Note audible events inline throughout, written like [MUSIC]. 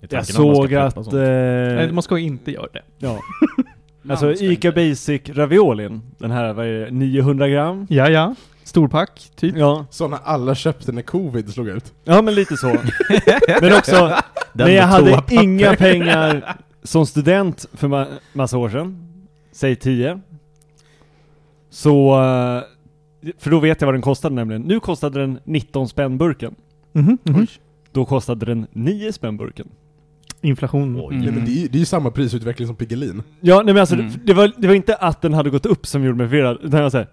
I Jag tanken man ska såg preppa att... sånt. Eh, Nej, man ska ju inte göra det. ja. Alltså Ica Basic Raviolin. Den här, vad är det, 900 gram? Ja, ja. Storpack, typ. Ja, Såna alla köpte när covid slog ut. ja men lite [LAUGHS] så. men också, Den men jag med hade [LAUGHS] toapapper. inga Mhm, pengar som student för ma- massa år sedan. Säg 10. Så, eh, för då vet jag vad den kostade nämligen. Nu kostade den 19 spänn burken. Mhm, mhm. Då kostade den 9 spänn burken. Inflation. Oj. Nej, Mm. men det, är, ju- det är ju samma prisutveckling som Piggelin. Ja, nej men alltså Mm. det, det, var, det var inte att den hade gått upp som gjorde mig förvirrad, utan jag säger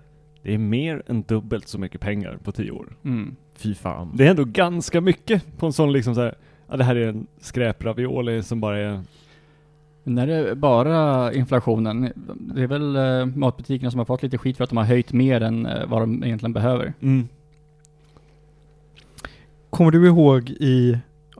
det är mer än dubbelt så mycket pengar på 10 år. Mm. Fy fan. Det är ändå ganska mycket på en sån liksom så här, ja det här är en skräpravioli som bara är När det är bara inflationen, det är väl eh, matbutikerna som har fått lite skit för att de har höjt mer än eh, vad de egentligen behöver. [LAUGHS] Mm. Kommer du ihåg i,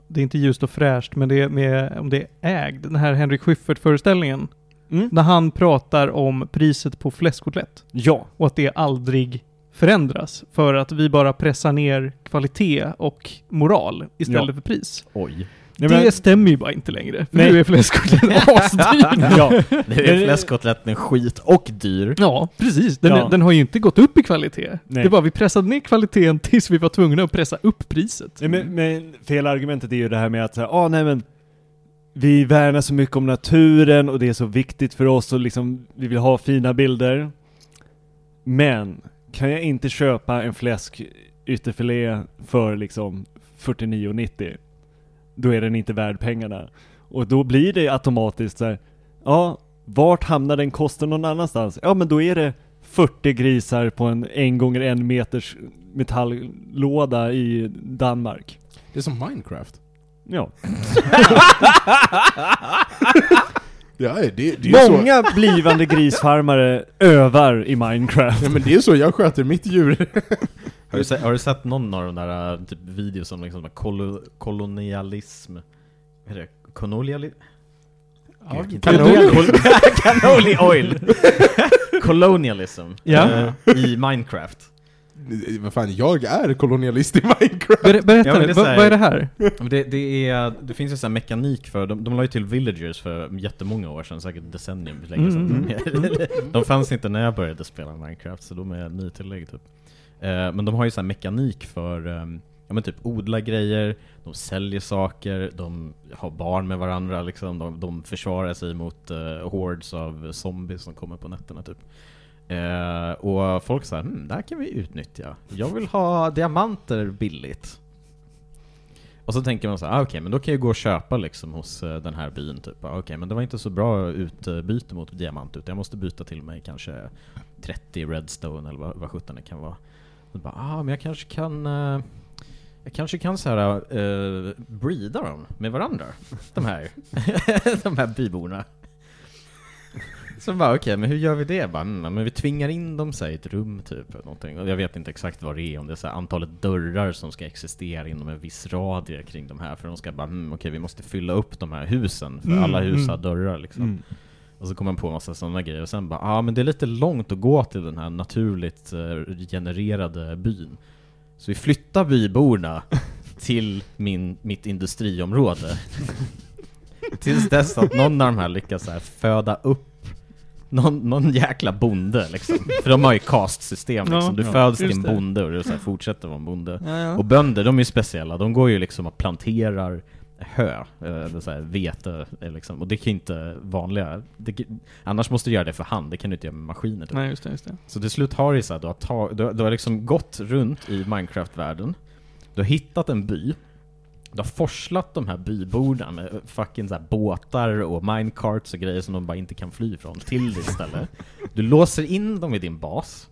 det är inte ljust och fräscht, men det är med, om det är ägd, den här Henrik Schyffert-föreställningen. Mm. När han pratar om priset på fläskkotlett Ja. och att det aldrig förändras för att vi bara pressar ner kvalitet och moral istället Ja. för pris. Oj. det Nej, men, stämmer ju bara inte längre. För Nej. nu är fläskkotlett asdyr. ja. Nu är fläskkotletten skit och dyr. Ja, precis. Den, Ja. den har ju inte gått upp i kvalitet. Nej. Det är bara vi pressade ner kvaliteten tills vi var tvungna att pressa upp priset. Nej, men, men fel argumentet är ju det här med att så här, ah, nej men vi värnar så mycket om naturen och det är så viktigt för oss och liksom vi vill ha fina bilder. Men kan jag inte köpa en fläsk ytterfilé för liksom 49,90 då är den inte värd pengarna. Och då blir det automatiskt så här, ja, vart hamnar den kosten någon annanstans? Ja, men då är det 40 grisar på en 1 gånger 1 meters metalllåda i Danmark. Det är som Minecraft. Ja. Ja, det, det är ju så. Många blivande grisfarmare övar i Minecraft. Ja, men det är så jag sköter mitt djur. [LAUGHS] Har du, sett, har du sett någon av de där äh, typ, videos om liksom, kol kolonialism? Vad heter det? Koloniali... Ja, Kanoli Kanoli oil! [LAUGHS] Colonialism. Ja. eh, I Minecraft. Vad fan, jag är kolonialist i Minecraft. Ber- berätta Ja, men nu, det är vad- så här- vad är det här? Men Det, det, är, det finns ju sån här mekanik för, de, de la ju till villagers för jättemånga år sedan, säkert decennium länge [LAUGHS] sedan. Mm. de fanns inte när jag började spela Minecraft, så de är nytillägg typ. Eh, men de har ju sån här mekanik för, ehm, ja men typ odla grejer, de säljer saker, de har barn med varandra liksom, de, de försvarar sig mot uh, hordes av zombies som kommer på nätterna typ. Eh, och folk säger hm, det här kan vi utnyttja. Jag vill ha diamanter billigt. Och så tänker man så här, ah, okej men då kan jag gå och köpa liksom hos eh, den här byn typ. Ah, Okej men det var inte så bra utbyte mot diamant utan jag måste byta till mig kanske 30 redstone eller vad, vad sjutton det kan vara. Och bara, ah men jag kanske kan eh, jag kanske kan så här eh, breeda dem med varandra, de här, [LAUGHS] de här byborna. Så bara okej, men hur gör vi det? Bara, mm, men vi tvingar in dem så här, i ett rum typ. Eller någonting. Och Jag vet inte exakt vad det är, om det är så här, antalet dörrar som ska existera inom en viss radie kring de här. För de ska bara, mm, okej vi måste fylla upp de här husen, för Mm, alla hus mm. har dörrar liksom. Och så kom man på en massa sådana grejer och sen bara, ja ah, men det är lite långt att gå till den här naturligt eh, genererade byn. Så vi flyttar byborna till min, mitt industriområde. Tills dess att någon av de här lyckas så här föda upp någon, någon jäkla bonde liksom. För de har ju castsystem liksom. Ja, du ja, föds till just en det. bonde och du så här fortsätter vara en bonde. Och bönder, de är ju speciella. De går ju liksom och planterar hö, eller så här, vete, eh, liksom. och det kan ju inte vanliga... Det, kan- annars måste du göra det för hand, det kan du inte göra med maskiner. Typ. Nej, just det, just det. Så till slut har du, så här, du, har ta, du, har- du har liksom gått runt i Minecraft-världen, du har hittat en by, du har forslat de här byborna med eh, fucking så här båtar och minecarts och grejer som de bara inte kan fly från till ditt ställe. Du låser in dem i din bas,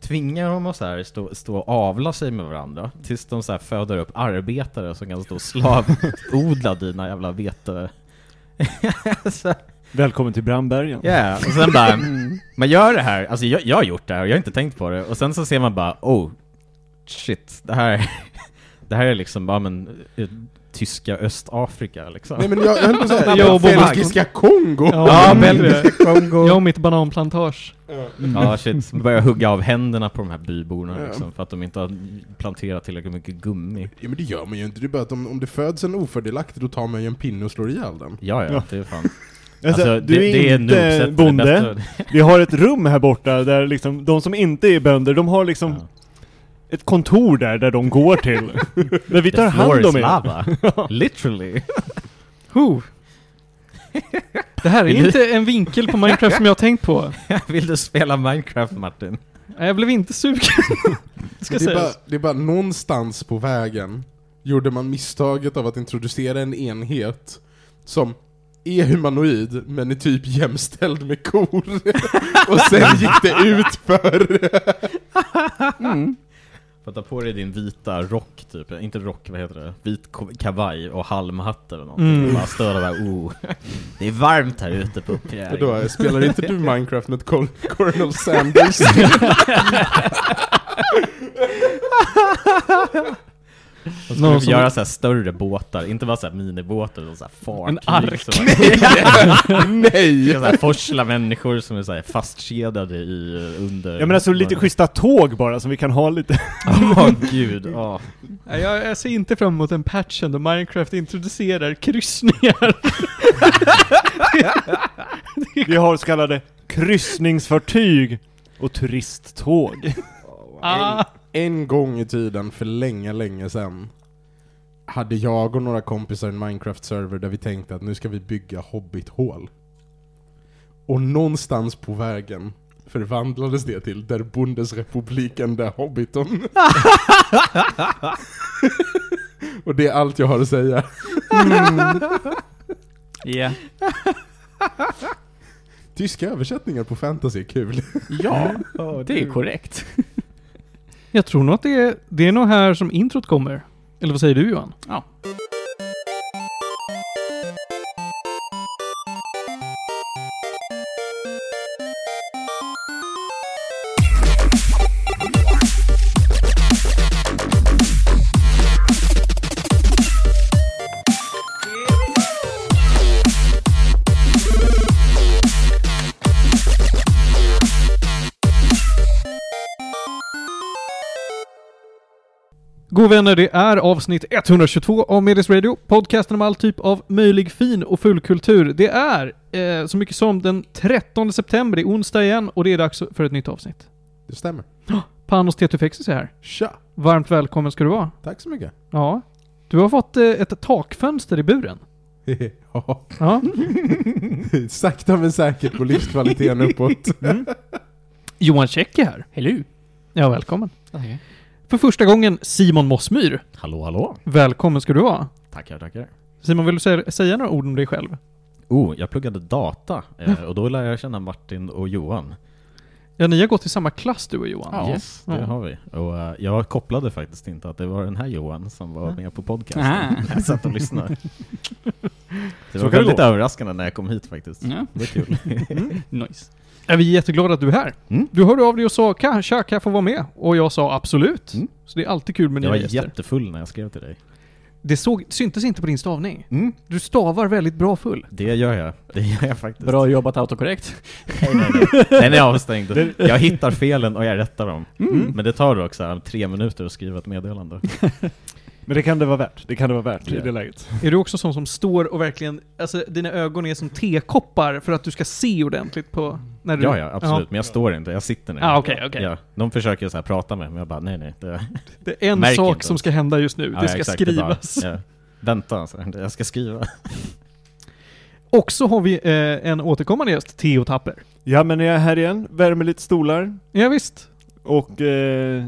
tvingar dem att så här stå, stå och avla sig med varandra tills de så här föder upp arbetare som kan stå och slavodla [LAUGHS] dina jävla vete... [LAUGHS] så Välkommen till Brandbergen. Ja, och sen bara, man gör det här, alltså jag, jag har gjort det här och jag har inte tänkt på det, och sen så ser man bara, oh, shit, det här, det här är liksom, ja men, eh, tyska Östafrika liksom. Nej men jag, jag höll på att säga, Jag jag och belgiska Kongo! Ja, Ja, mm. Belgiska Kongo. Jag och mitt bananplantage. Ja shit, börjar hugga av händerna på de här byborna Ja. liksom, för att de inte har planterat tillräckligt mycket gummi. Ja, men det gör man ju inte, det är bara att om, om det föds en ofördelaktig då tar man ju en pinne och slår ihjäl den. Ja, ja, Ja. det är fan. Alltså, du det- är det inte noobset, det bonde. bästa. Vi har ett rum här borta där liksom, de som inte är bönder, de har liksom Ja. ett kontor där, där de går till. [LAUGHS] där vi tar The floor hand is om er. lava. [LAUGHS] Literally. [LAUGHS] Huh. Det här är Vill du- inte en vinkel på Minecraft som jag har tänkt på. Vill du spela Minecraft Martin? Nej, Jag blev inte sugen. Ska det, är bara, sägas. det är bara någonstans på vägen gjorde man misstaget av att introducera en enhet som är humanoid men är typ jämställd med kor. [LAUGHS] och sen gick det ut för Mm. Får ta på dig din vita rock typ, inte rock, vad heter det? Vit ko- kavaj och halmhatt eller någonting. Mm. Och bara störa där, oh. Det är varmt här ute på prärien. Vadå, spelar inte du Minecraft med Col- Colonel Sanders? Och skulle Någon vi som- göra så här större båtar, inte bara så här minibåtar utan så här fartyg. En ark. som bara- Nej! Ska så här forsla människor som är så här fastkedjade i eh, under... Ja men alltså lite schyssta tåg bara som vi kan ha lite. [LAUGHS] Åh gud, [LAUGHS] ja. Nej, Jag, jag ser inte fram emot en patch där Minecraft introducerar kryssningar. Vi har så kallade kryssningsfartyg och [LAUGHS] turisttåg. Ah. En gång i tiden, för länge, länge sedan hade jag och några kompisar en Minecraft-server där vi tänkte att nu ska vi bygga Hobbit-hål. Och någonstans på vägen förvandlades det till där Bundesrepubliken där Hobbiton. [LAUGHS] och det är allt jag har att säga. Ja. Tyska översättningar på fantasy är kul. Ja, det är korrekt. Jag tror nog att det är, det är nog här som introt kommer. Eller vad säger du Johan? Ja. God vänner, det är avsnitt 122 av Medis Radio, podcasten om all typ av möjlig fin och full kultur. Det är eh, så mycket som den 13 september, det är onsdag igen och det är dags för ett nytt avsnitt. Det stämmer. Panos Tetufexis är här. Tja! Varmt välkommen ska du vara. Tack så mycket. [LAUGHS] Ja. Du har fått eh, ett takfönster i buren. Mm. Ja, Ja. Sakta men säkert går livskvaliteten uppåt. Johan Käck är här. Hello. Mm. Ja, välkommen. Okay. För första gången Simon Mossmyr. Hallå hallå. Välkommen ska du vara. Tackar, tackar. Simon, vill du säga, säga några ord om dig själv? Oh, jag pluggade data eh, och då lär jag känna Martin och Johan. Ja, ni har gått i samma klass du och Johan. Ja. Yes, det Ja. har vi. Och eh, jag kopplade faktiskt inte att det var den här Johan som var Ja. med på Ah. podcasten. [LAUGHS] Jag satt [LAUGHS] och lyssnade. Så Det var kan det väldigt gå. överraskande när jag kom hit faktiskt. Ja. Det [LAUGHS] var kul. Nice. Är vi jätteglada att du är här. Mm. Du hörde av dig och sa "Ka- tja, kan jag få vara med? Och jag sa absolut. Mm. Så det är alltid kul med Jag var nya gäster. jättefull när jag skrev till dig. Det såg, syntes inte på din stavning. Mm. Du stavar väldigt bra [LAUGHS] full. Det gör jag. Det gör jag faktiskt. Bra jobbat autokorrekt. [LAUGHS] Nej, nej, nej. Den är avstängd. Jag hittar felen och jag rättar dem. Mm. Men det tar också här tre minuter att skriva ett meddelande. Men det kan det vara värt. Det kan det vara värt i Ja. det läget. Är du också sån som står och verkligen, alltså dina ögon är som tekoppar för att du ska se ordentligt på när du... Ja, ja, absolut. Men jag står inte. Jag sitter ner. Ah, okej, okej. Ja, de försöker så här prata med mig, men jag bara nej, nej. Det, Det är en Märker sak inte. som ska hända just nu. Ja, det ska exakt, är bara- skrivas. ja. Vänta, så här, jag ska skriva. Och så har vi eh, en återkommande gäst, Theo Tapper. Ja men jag är här igen, värmer lite stolar Ja, visst. och eh,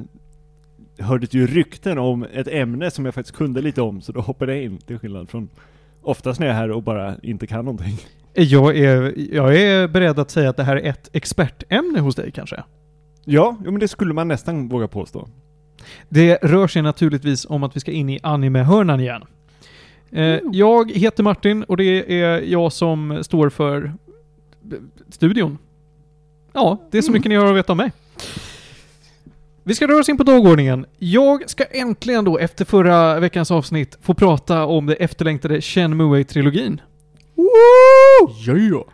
hörde ju rykten om ett ämne som jag faktiskt kunde lite om så då hoppade jag in till skillnad från oftast när jag är här och bara inte kan någonting. [LAUGHS] Jag är, jag är beredd att säga att det här är ett expertämne hos dig kanske. Ja, ja men det skulle man nästan våga påstå. Det rör sig naturligtvis om att vi ska in i anime-hörnan igen. Eh, jag heter Martin och det är jag som står för Mm. b- studion. Ja, det är så mycket ni har att veta om mig. Vi ska röra oss in på dagordningen. Jag ska äntligen då, efter förra veckans avsnitt, få prata om det efterlängtade Shenmue [LAUGHS] trilogin Jojo!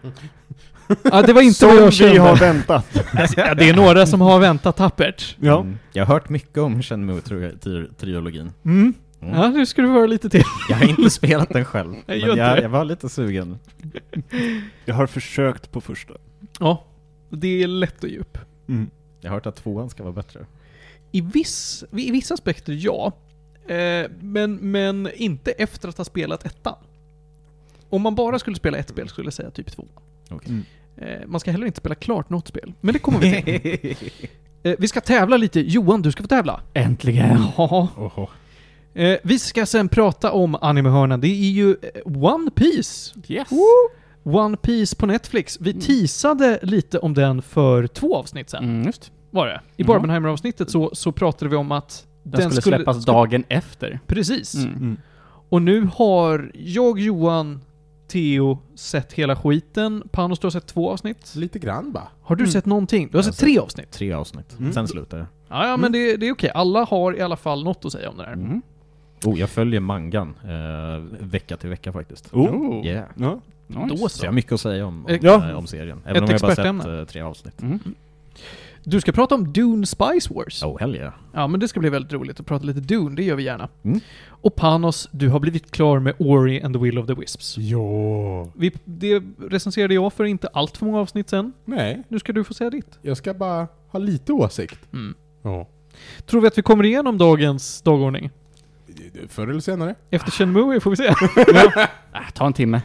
Ja, det var inte vad jag vi kände. har väntat. [LAUGHS] Ja, det är några som har väntat tappert. Ja. Mm. Jag har hört mycket om Shenmue-trilogin. Mm. Mm. Ja, nu ska du höra lite till. Jag har [LAUGHS] inte spelat den själv, men gör jag, inte det. jag var lite sugen. Jag har försökt på första. Mm, Ja, det är lätt och djup. Jag har hört att tvåan ska vara bättre. I, viss, I vissa aspekter, ja. Eh, men, men inte efter att ha spelat ettan. Om man bara skulle spela ett spel skulle jag säga typ två. Okej. Mm. Eh, man ska heller inte spela klart något spel. Men det kommer vi till. [LAUGHS] eh, vi ska tävla lite. Johan, du ska få tävla. Äntligen! Ja. Eh, vi ska sen prata om animehörnan. Det är ju eh, One Piece. Yes! One Piece på Netflix. Vi teasade lite om den för två avsnitt sen. Mm, just. Var det. I Ja. Barbenheimer-avsnittet så, så pratade vi om att Den, skulle släppas dagen efter. Precis. Mm. Och nu har jag, Johan, Theo sett hela skiten. Panos, du har sett två avsnitt. Lite grann bara. Har du Mm. sett någonting? Du har sett Jag har sett- tre Mm. avsnitt. Tre avsnitt, Mm. sen slutar det. Ja, ja men det, det är okej. Alla har i alla fall något att säga om det här. Mm. Oh, jag följer mangan eh, vecka till vecka faktiskt. Oh. Yeah. Ja. Nice. Då Så så. jag har mycket att säga om, om, Ja. eh, om serien. Även Ett om jag bara sett expertämne. eh, tre avsnitt. Mm. Du ska prata om Dune Spice Wars. Oh, hell yeah. Ja, men det ska bli väldigt roligt att prata lite Dune. Det gör vi gärna. Mm. Och Panos, du har blivit klar med Ori and the Will of the Wisps. Jo. Vi, det recenserade jag för inte allt för många avsnitt sen. Nej, Nu ska du få säga ditt. jag ska bara ha lite åsikt. Mm. Ja. Tror vi att vi kommer igenom dagens dagordning? Förr eller senare. Efter Shenmue får vi se. Ah, ta en timme.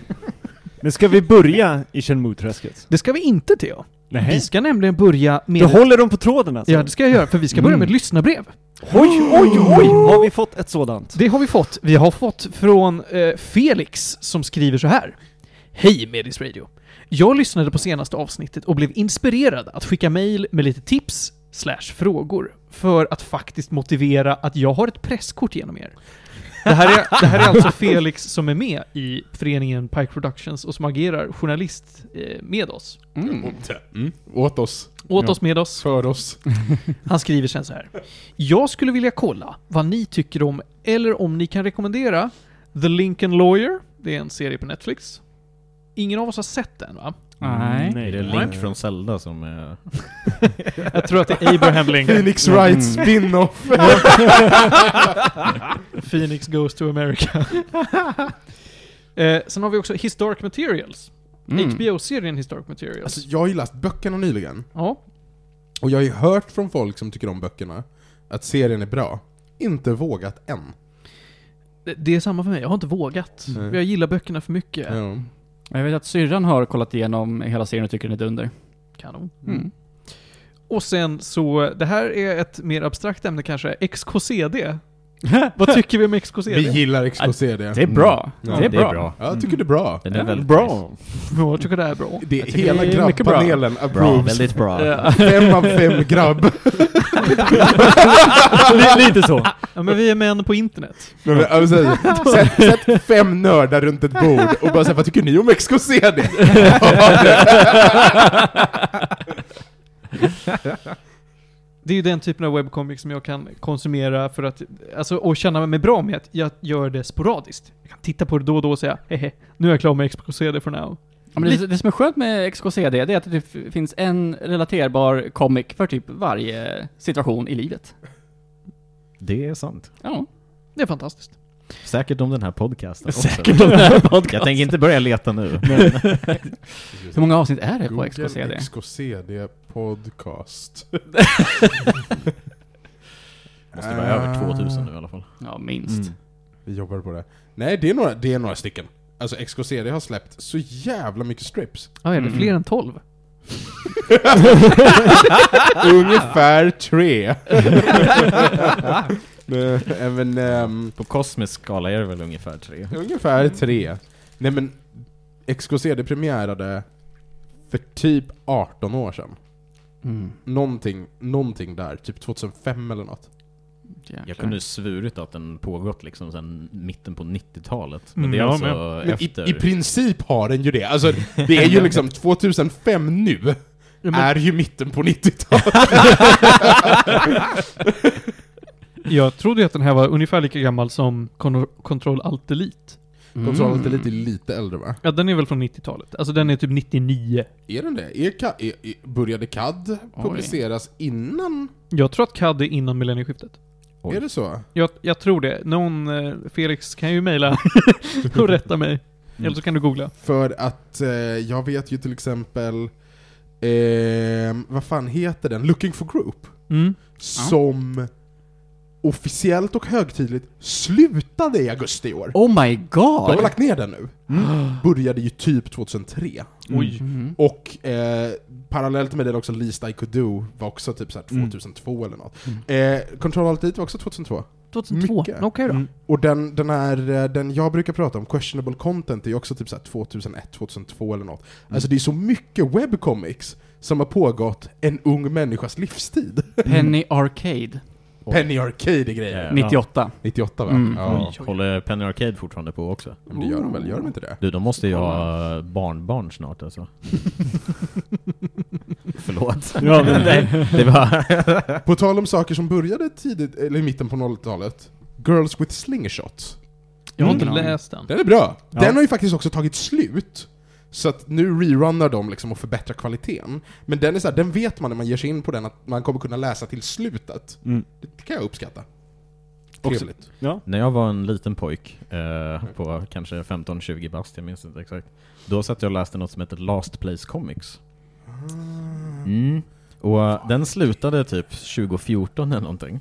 Men ska vi börja i Chenmu-träsket? Det ska vi inte till. Vi Nej. ska nämligen börja med... Du håller dem på tråden alltså? Ja, det ska jag göra, för vi Mm. ska börja med ett lyssnarbrev. Oj, oj, oj! Har vi fått ett sådant? Det har vi fått. Vi har fått från eh, Felix som skriver så här. Hej Medis Radio. Jag lyssnade på senaste avsnittet och blev inspirerad att skicka mejl med lite tips slash frågor för att faktiskt motivera att jag har ett presskort genom er. Det här, är, det här är [LAUGHS] alltså Felix som är med i föreningen Pike Productions och som agerar journalist eh, med oss. Mm. Mm. Åt oss. Åt Ja. oss, med oss. För oss. Han skriver sen så här. Jag skulle vilja kolla vad ni tycker om, eller om ni kan rekommendera, The Lincoln Lawyer. Det är en serie på Netflix. Ingen av oss har sett den va? Nej. Är det Link från Zelda som eh, är... Jag tror att det är Abraham Lincoln. Phoenix Wright Mm. spin-off. Phoenix goes to America. [LAUGHS] eh, sen har vi också Historic Materials. Mm. HBO-serien Historic Materials. Alltså, jag har ju läst böckerna nyligen. ja. Och jag har ju hört från folk som tycker om böckerna att serien är bra. Inte vågat än. Det- Det är samma för mig, jag har inte vågat. Nej. Jag gillar böckerna för mycket. Ja. Jag vet att syrran har kollat igenom hela serien och tycker den är [LAUGHS] dunder. Kanon. Mm. Och sen så, det här är ett mer abstrakt ämne kanske, XKCD. [LAUGHS] Vad tycker vi om XKCD? Vi gillar XKCD. Det är bra. Ja, Mm. det, är bra. Ja, jag tycker det är bra. Den är väldigt nice. Bra! Ja, jag tycker det här är bra. Det, Jag tycker hela det är mycket bra. grabbpanelen Bra, approves. väldigt bra. [LAUGHS] [LAUGHS] Fem av fem [LAUGHS] grabb. [LAUGHS] [LAUGHS] Li- Lite så. Ja, men vi är män på internet. Men, men, alltså, sätt, sätt fem nördar runt ett bord och bara säga vad tycker ni om XKCD? [LAUGHS] Det är ju den typen av webcomic som jag kan konsumera för att, alltså, och känna mig bra med att jag gör det sporadiskt. Jag kan titta på det då och då och säga hehe, nu är jag klar med XKCD for now. Ja, men det, det som är skönt med XKCD, det är att det f- finns en relaterbar comic för typ varje situation i livet. Det är sant. Ja. Det är fantastiskt. Säkert om den [LAUGHS] här podcasten också. Säkert om den här podcasten. Jag tänker inte börja leta nu. [LAUGHS] Hur många avsnitt är det på Google XKCD? XKCD podcast. [LAUGHS] [LAUGHS] Måste vara eh, över 2000 nu i alla fall. Ja, minst. Ah, Vi jobbar på det. Nej, det är några, det är några stycken. Alltså XKCD har släppt så jävla mycket [LAUGHS] strips. Ja, är det Mm. fler än 12? Ungefär tre. [LAUGHS] Nej, Även, ehm, På kosmisk skala är det väl ungefär tre. ungefär tre. Nej men, XKCD premiärade för typ 18 år sedan. Mm. Någonting, någonting där. Typ 2005 eller något. Jäklar. Jag kunde svurit att den pågått liksom sedan mitten på 90-talet. Men Mm, det är jag alltså Men i, efter... i princip har den ju det. Alltså, det är ju liksom 2005 nu. men- är ju mitten på 90-talet. Jag trodde ju att den här var ungefär lika gammal som Con- Control Alt Delete. Mm. Kontrollen är lite, lite äldre va? Ja, den är väl från 90-talet. Alltså den är typ 99. Är den det? Är, Ka- är, är, började CAD Oj. publiceras innan? Jag tror att CAD är innan millennieskiftet. Oj. Är det så? Jag, jag tror det. Någon, eh, Felix kan ju mejla [LAUGHS] och rätta mig. Eller så kan du googla. För att eh, jag vet ju till exempel, ehm, vad fan heter den? Looking for Group. Mm. Som officiellt och högtidligt slutade i augusti i år. Oh my De har god! lagt ner den nu. Började ju typ 2003. Oj. Mhm. Och eh, parallellt med det är också Least I Could Do var också typ så här Mm. 2002 eller något. Eh, Control Alt Delete var också 2002. 2002? Mycket. Okej då. Mm. Och den, den här, eh, den jag brukar prata om, Questionable Content, är ju också typ så här 2001, 2002 eller något. Mm. Alltså det är så mycket webcomics som har pågått en ung människas livstid. Penny Arcade, Oj. Penny Arcade är grejen. Ja. 98. 98 va? Mm. Ja. Oj, Håller Penny Arcade fortfarande på också? Men det gör de väl, gör de inte det? Du, de måste ju ha barnbarn snart alltså. Förlåt. [LAUGHS] Ja, [LAUGHS] men- Nej, det var... På tal om saker som började tidigt, eller i mitten på 0-talet, Girls with Slingshots. Jag har Ingen inte aning. läst den. Den är bra! Ja. Den har ju faktiskt också tagit slut. Så att nu rerunnar de liksom och förbättrar kvaliteten. Men den är så här, den vet man när man ger sig in på den att man kommer kunna läsa till slutet. Mm. Det kan jag uppskatta. Också- Trevligt. När jag var en liten pojk, eh, på kanske 15-20 bast, jag minns inte exakt. Då satt jag och läste något som heter Last Place Comics. Mm. Och eh, den slutade typ 2014 eller någonting.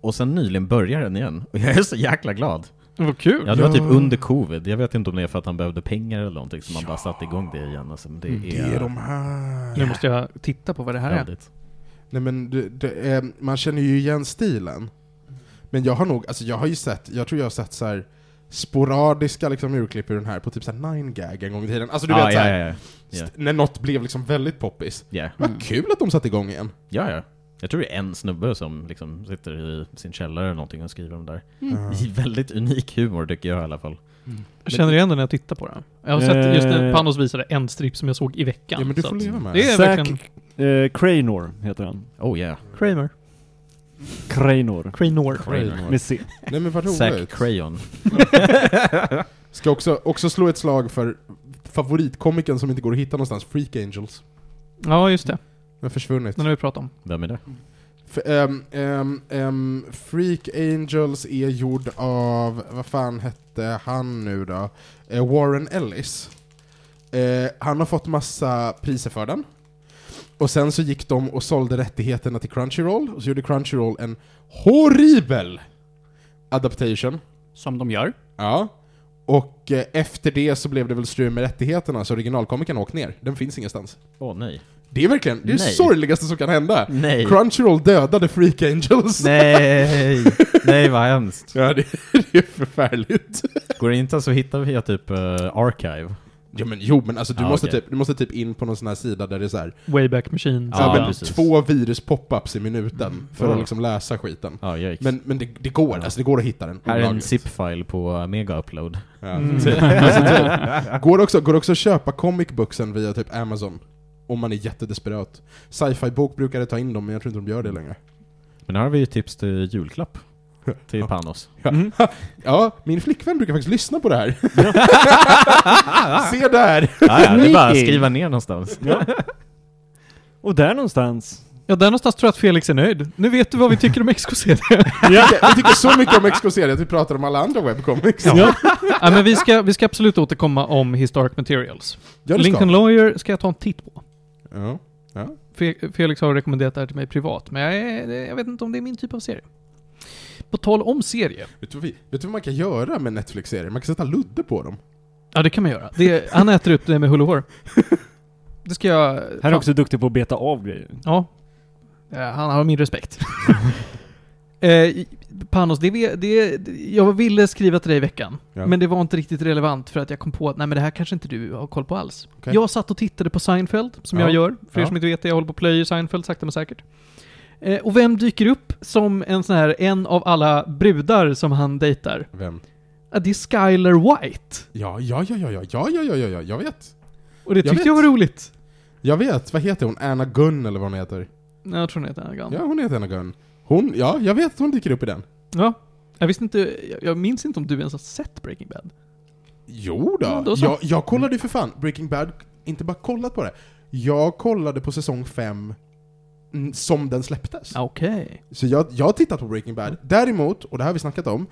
Och sen nyligen började den igen, och jag är så jäkla glad. Vad kul. Ja, det var typ Ja. under covid. Jag vet inte om det är för att han behövde pengar eller någonting, så man bara satte igång det igen. Alltså, men det, Mm. Det är är de här. Nu måste jag titta på vad det här är. väldigt... Nej men det, det är, man känner ju igen stilen. Men jag har nog, alltså jag har ju sett, jag tror jag har sett så här sporadiska liksom urklipp ur den här på typ såhär 9gag en gång i tiden. Alltså du Ja, vet Ah, ja, såhär, ja, ja. ja. st- när något blev liksom väldigt poppis. Ja. Mm. Vad kul att de satte igång igen. Ja, ja. Jag tror det är en snubbe som liksom sitter i sin källare eller någonting och skriver om det där. I väldigt unik humor tycker jag i alla fall. Jag känner igen den när jag tittar på den. Jag har sett, just Eh. när Panos visade en strip som jag såg i veckan. Ja men du så får att- leva med Det är Zack- verkligen... Eh, Cranor heter han. Oh yeah. Kramer. Cranor. Cranor. Med C. Nej men vad Zack roligt. Crayon. Ska också, också slå ett slag för favoritkomikern som inte går att hitta någonstans, Freak Angels. Ja, just det. Den har försvunnit. Den har vi pratat om. Vem är det? F- ehm, ehm, ehm, Freak Angels är gjord av, vad fan hette han nu då? Eh, Warren Ellis. Eh, han har fått massa priser för den. Och sen så gick de och sålde rättigheterna till Crunchyroll, och så gjorde Crunchyroll en horribel adaptation. Som de gör. Ja. Och eh, efter det så blev det väl strul med rättigheterna, så originalkomikern åkt ner. Den finns ingenstans. Åh nej. Det är verkligen det är det Nej. sorgligaste som kan hända. Nej. Crunchyroll dödade Freak Angels. Nej! Nej vad hemskt. [LAUGHS] Ja, det, det är förfärligt. Går det inte så hittar vi typ eh, Archive. Ja, men, jo, men alltså, du, Ja, måste okej. typ, du måste typ in på någon sån här sida där det är så här, Wayback Machine. Ja, så här, men, precis. två virus pop-ups i minuten för att Ja. liksom läsa skiten. Ja, yikes. Men, men det, det går, Ja. alltså det går att hitta den. Här är en olagligt. zip-file på eh, Mega Upload. Ja. Mm. alltså, typ, går, också, går också att köpa comic booksen via typ Amazon. Om man är jättedesperat. Sci-fi bok brukade ta in dem, men jag tror inte de gör det längre. Men här har vi ju tips till [LAUGHS] julklapp. Till Panos. Ja, min flickvän brukar faktiskt lyssna på det här. Se där! Ja, ja, det är bara att Sneaky. skriva ner någonstans. Och där någonstans. Ja, där någonstans tror jag att Felix är nöjd. Nu vet du vad vi tycker om [LAUGHS] XKCD. Vi tycker så mycket om XKCD att vi pratar om alla andra webcomics. Ja. ja, men vi ska, vi ska absolut återkomma om Historic Materials. Ja, det ska Lincoln vi. Lawyer ska jag ta en titt på. Ja. Fe- Felix har rekommenderat det här till mig privat, men jag, är, jag vet inte om det är min typ av serie. På tal om serie. Vet du, vad vi, vet du vad man kan göra med Netflix-serier? Man kan sätta ludde på dem. Ja, det kan man göra. Det, han äter upp det med hull och hår. Det ska jag... Han fan. är också duktig på att beta av grejer. Ja. Eh, Han har min [LAUGHS] respekt. eh, i- Panos, det, vi- det, jag ville skriva till dig i veckan, Ja. men det var inte riktigt relevant för att jag kom på att nej men det här kanske inte du har koll på alls. Okej. Jag satt och tittade på Seinfeld, som Ja. jag gör. För er Ja. som inte vet det, jag håller på och plöjer Seinfeld sakta men säkert. Eh, och vem dyker upp som en sån här, en av alla brudar som han dejtar? Vem? Ja, det är Skyler White. Ja, ja, ja, ja, ja, ja, ja, ja, ja, ja jag vet. Och det Jag tyckte jag, vet. var roligt. Jag vet, vad heter hon? Anna Gunn eller vad hon heter? Nej, jag tror hon heter Anagram. Ja, hon heter Anna Gunn. Hon, ja, jag vet att hon dyker upp i den. ja. Jag visste inte, jag, jag minns inte om du ens har sett Breaking Bad. Jo Mm, då. Ja, då så. jag, jag kollade ju för fan Breaking Bad, inte bara kollat på det. Jag kollade på säsong 5 som den släpptes. Okej. Så jag, jag har tittat på Breaking Bad. Däremot, och det här har vi snackat om,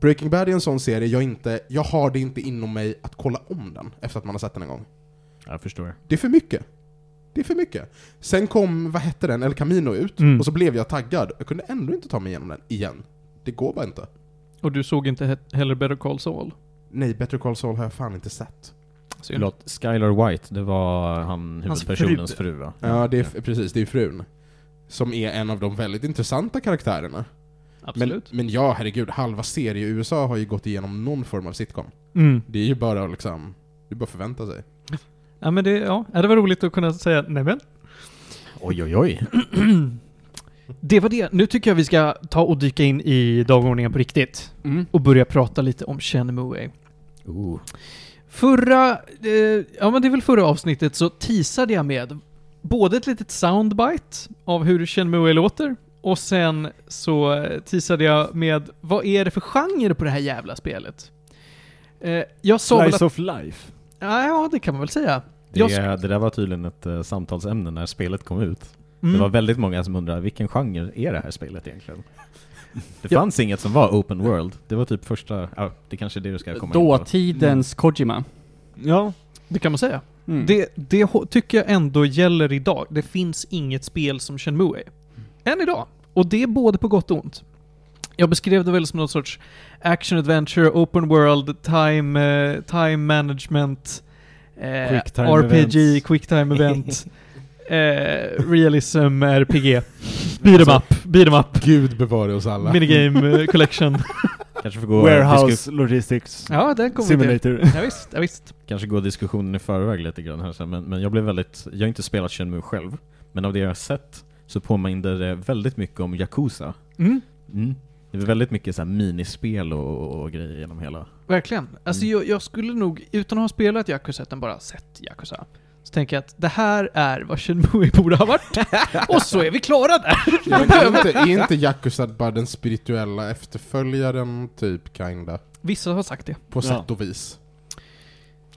Breaking Bad är en sån serie jag inte, jag har det inte inom mig att kolla om den efter att man har sett den en gång. Jag förstår. Det är för mycket. Det är för mycket. Sen kom, vad hette den, El Camino ut, Mm. och så blev jag taggad. Jag kunde ändå inte ta mig igenom den igen. Det går bara inte. Och du såg inte he- heller Better Call Saul? Nej, Better Call Saul har jag fan inte sett. Synd. Förlåt, Skylar White, det var han, Hans huvudpersonens fru va? Ja, det är, f- precis, det är frun. Som är en av de väldigt intressanta karaktärerna. Men, Absolut. men ja, herregud, halva serie i USA har ju gått igenom någon form av sitcom. Mm. Det är ju bara liksom, det är bara att förvänta sig. Ja men det, ja. ja, det var roligt att kunna säga nej men. Oj oj oj. Det var det. Nu tycker jag vi ska ta och dyka in i dagordningen på riktigt. Mm. Och börja prata lite om Shenmue. Oh. Förra, eh, ja men det är väl förra avsnittet så teasade jag med både ett litet soundbite av hur Shenmue låter och sen så eh, teasade jag med vad är det för genre på det här jävla spelet? Eh, jag sa väl att, Slice of life. ja ja, det kan man väl säga. Det, Jag sk- det där var tydligen ett eh, samtalsämne när spelet kom ut. Mm. Det var väldigt många som undrade vilken genre är det här spelet egentligen? Det fanns inget som var open world. Det var typ första, ja, det kanske är det du ska komma in på. Dåtidens Kojima. Ja. mm. Det kan man säga. Mm. Det, det ho- tycker jag ändå gäller idag. Det finns inget spel som Shenmue. Än idag. Och det är både på gott och ont. Jag beskrev det väl som någon sorts action adventure, open world, time, eh, time management, eh, Quick time RPG, events. quick time [LAUGHS] event, eh, realism, [LAUGHS] RPG, beat 'em up, beat 'em up, Gud bevare oss alla. minigame eh, collection. Kanske får gå, disku, Warehouse logistics [LAUGHS] Ja, den kommer vi till. simulator. [LAUGHS] Ja, visst, ja, visst. kanske gå diskussionen i förväg lite grann här sen, men, men jag blev väldigt, jag har inte spelat Shenmue själv, men av det jag har sett så påminner det väldigt mycket om Yakuza. Mm. Mm. Det är väldigt mycket så här minispel och, och, och grejer genom hela. Verkligen. Alltså Mm. jag, jag skulle nog, utan att ha spelat Yakuza, utan bara sett Yakuza, så tänker jag att det här är vad Shenmue borde ha varit. Och så är vi klara där! Ja, men är, inte, är inte Yakuza bara den spirituella efterföljaren, typ, kinda? Vissa har sagt det. På Ja. sätt och vis.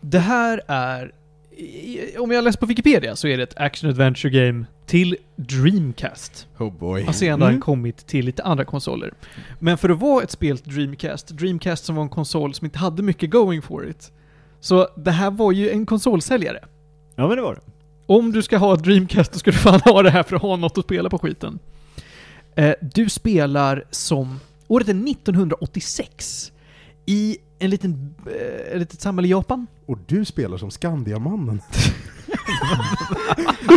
Det här är, i- om jag läser på Wikipedia, så är det ett action adventure game till Dreamcast. Oh boy. Har sedan Mm. kommit till lite andra konsoler. Men för att vara ett spel till Dreamcast, Dreamcast som var en konsol som inte hade mycket going for it, så det här var ju en konsolsäljare. Ja men det var det. Om du ska ha ett Dreamcast, då ska du fan ha det här för att ha något att spela på skiten. Eh, du spelar som... Året är 1986. I en liten... Eh, ett litet samhälle i Japan. Och du spelar som Skandiamannen.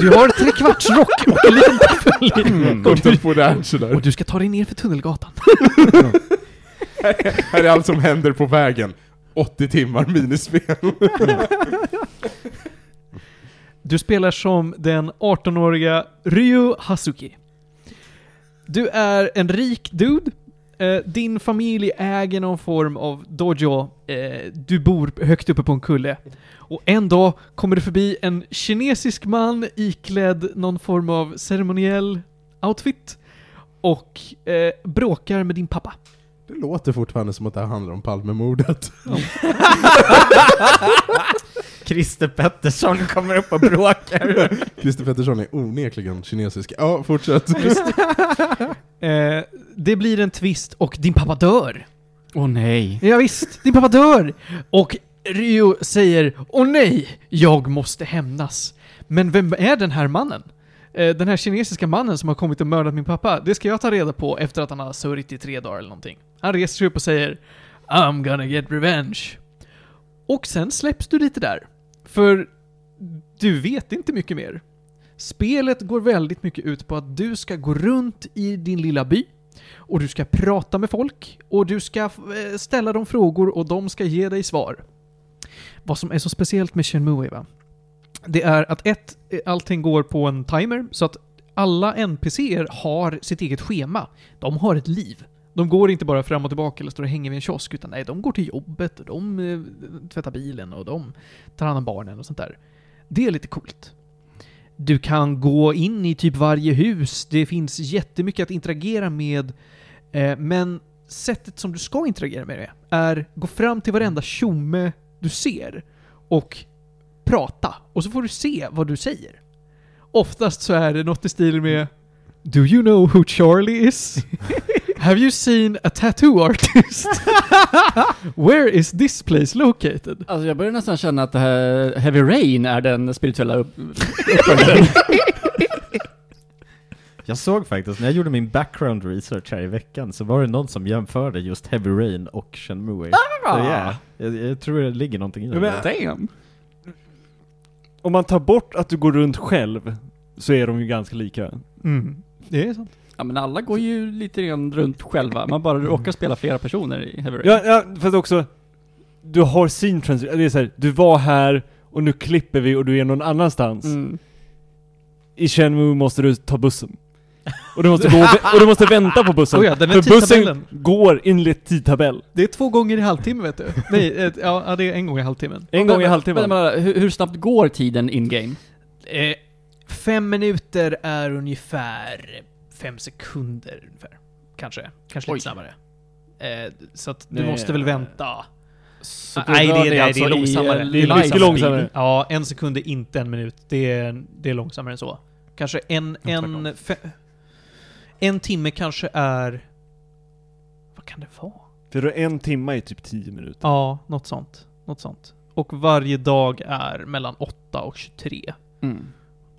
Du har trekvartsrock och en liten portfölj. Mm. [LAUGHS] Och, du, Kontemporärt [LAUGHS] sådär. och du ska ta dig ner för Tunnelgatan. Här är allt som händer på vägen. 80 timmar minispel. Du spelar som den 18-åriga Ryu Hasuki. Du är en rik dude. Eh, din familj äger någon form av dojo. Eh, du bor högt uppe på en kulle. Och en dag kommer du förbi en kinesisk man iklädd någon form av ceremoniell outfit. Och eh, bråkar med din pappa. Det låter fortfarande som att det här handlar om Palmemordet. [LAUGHS] Christer Pettersson kommer upp och bråkar. Christer Pettersson är onekligen kinesisk. Ja, fortsätt. [LAUGHS] Eh, det blir en twist och din pappa dör. Åh nej. Ja, visst, din pappa dör! Och Ryo säger Åh nej, jag måste hämnas. Men vem är den här mannen? Eh, Den här kinesiska mannen som har kommit och mördat min pappa, det ska jag ta reda på efter att han har sörjt i tre dagar eller någonting. Han reser sig upp och säger I'm gonna get revenge. Och sen släpps du lite där. För du vet inte mycket mer. Spelet går väldigt mycket ut på att du ska gå runt i din lilla by och du ska prata med folk och du ska eh, ställa dem frågor och de ska ge dig svar. Vad som är så speciellt med Shenmue va? Det är att ett, eh, allting går på en timer så att alla NPCer har sitt eget schema. De har ett liv. De går inte bara fram och tillbaka eller står och hänger vid en kiosk utan nej, de går till jobbet och de eh, tvättar bilen och de tar hand om barnen och sånt där. Det är lite coolt. Du kan gå in i typ varje hus. Det finns jättemycket att interagera med. Eh, men sättet som du ska interagera med det är gå fram till varenda tjomme du ser och prata. Och så får du se vad du säger. Oftast så är det något i stil med Do you know who Charlie is? [LAUGHS] Have you seen a tattoo [LAUGHS] artist? Where is this place located? Alltså jag börjar nästan känna att det här Heavy Rain är den spirituella upp- uppföljaren. Jag såg faktiskt, när jag gjorde min background research här i veckan så var det någon som jämförde just Heavy Rain och Shenmue. Så ja, jag, jag tror det ligger någonting i det. Ja, Ah! men- Damn! Om man tar bort att du går runt själv så är de ju ganska lika. Mm. Det är sant. Ja men alla går ju lite grann runt själva, man bara råkar spela flera personer i Heavy Rain. Ja, ja fast också, du har scene transition, det är så här, du var här och nu klipper vi och du är någon annanstans. Mm. I Shenmue måste du ta bussen. Och du måste, gå och, vä- och du måste vänta på bussen. Oh ja, den här för bussen tidtabellen. går enligt tidtabell. Det är två gånger i halvtimmen vet du. Nej, eh, ja ja, det är en gång i halvtimmen. En gång i Men- halvtimmen. men- men, hur, hur snabbt går tiden in-game? Eh, fem minuter är ungefär fem sekunder ungefär. Kanske. Kanske Oj. lite snabbare. Eh, så att du Nej, måste väl eh, vänta. Ah, Så Nej, då det- rör det- det är i, eh, långsammare. live Det är mycket speed. långsammare. Ja, en sekund är inte en minut. Det är, det är långsammare än så. Kanske en, en, fe- en timme kanske är... Vad kan det vara? För då en timme är typ tio minuter. Ja, något sånt. Något sånt. Och varje dag är mellan 8 och 23. Mm.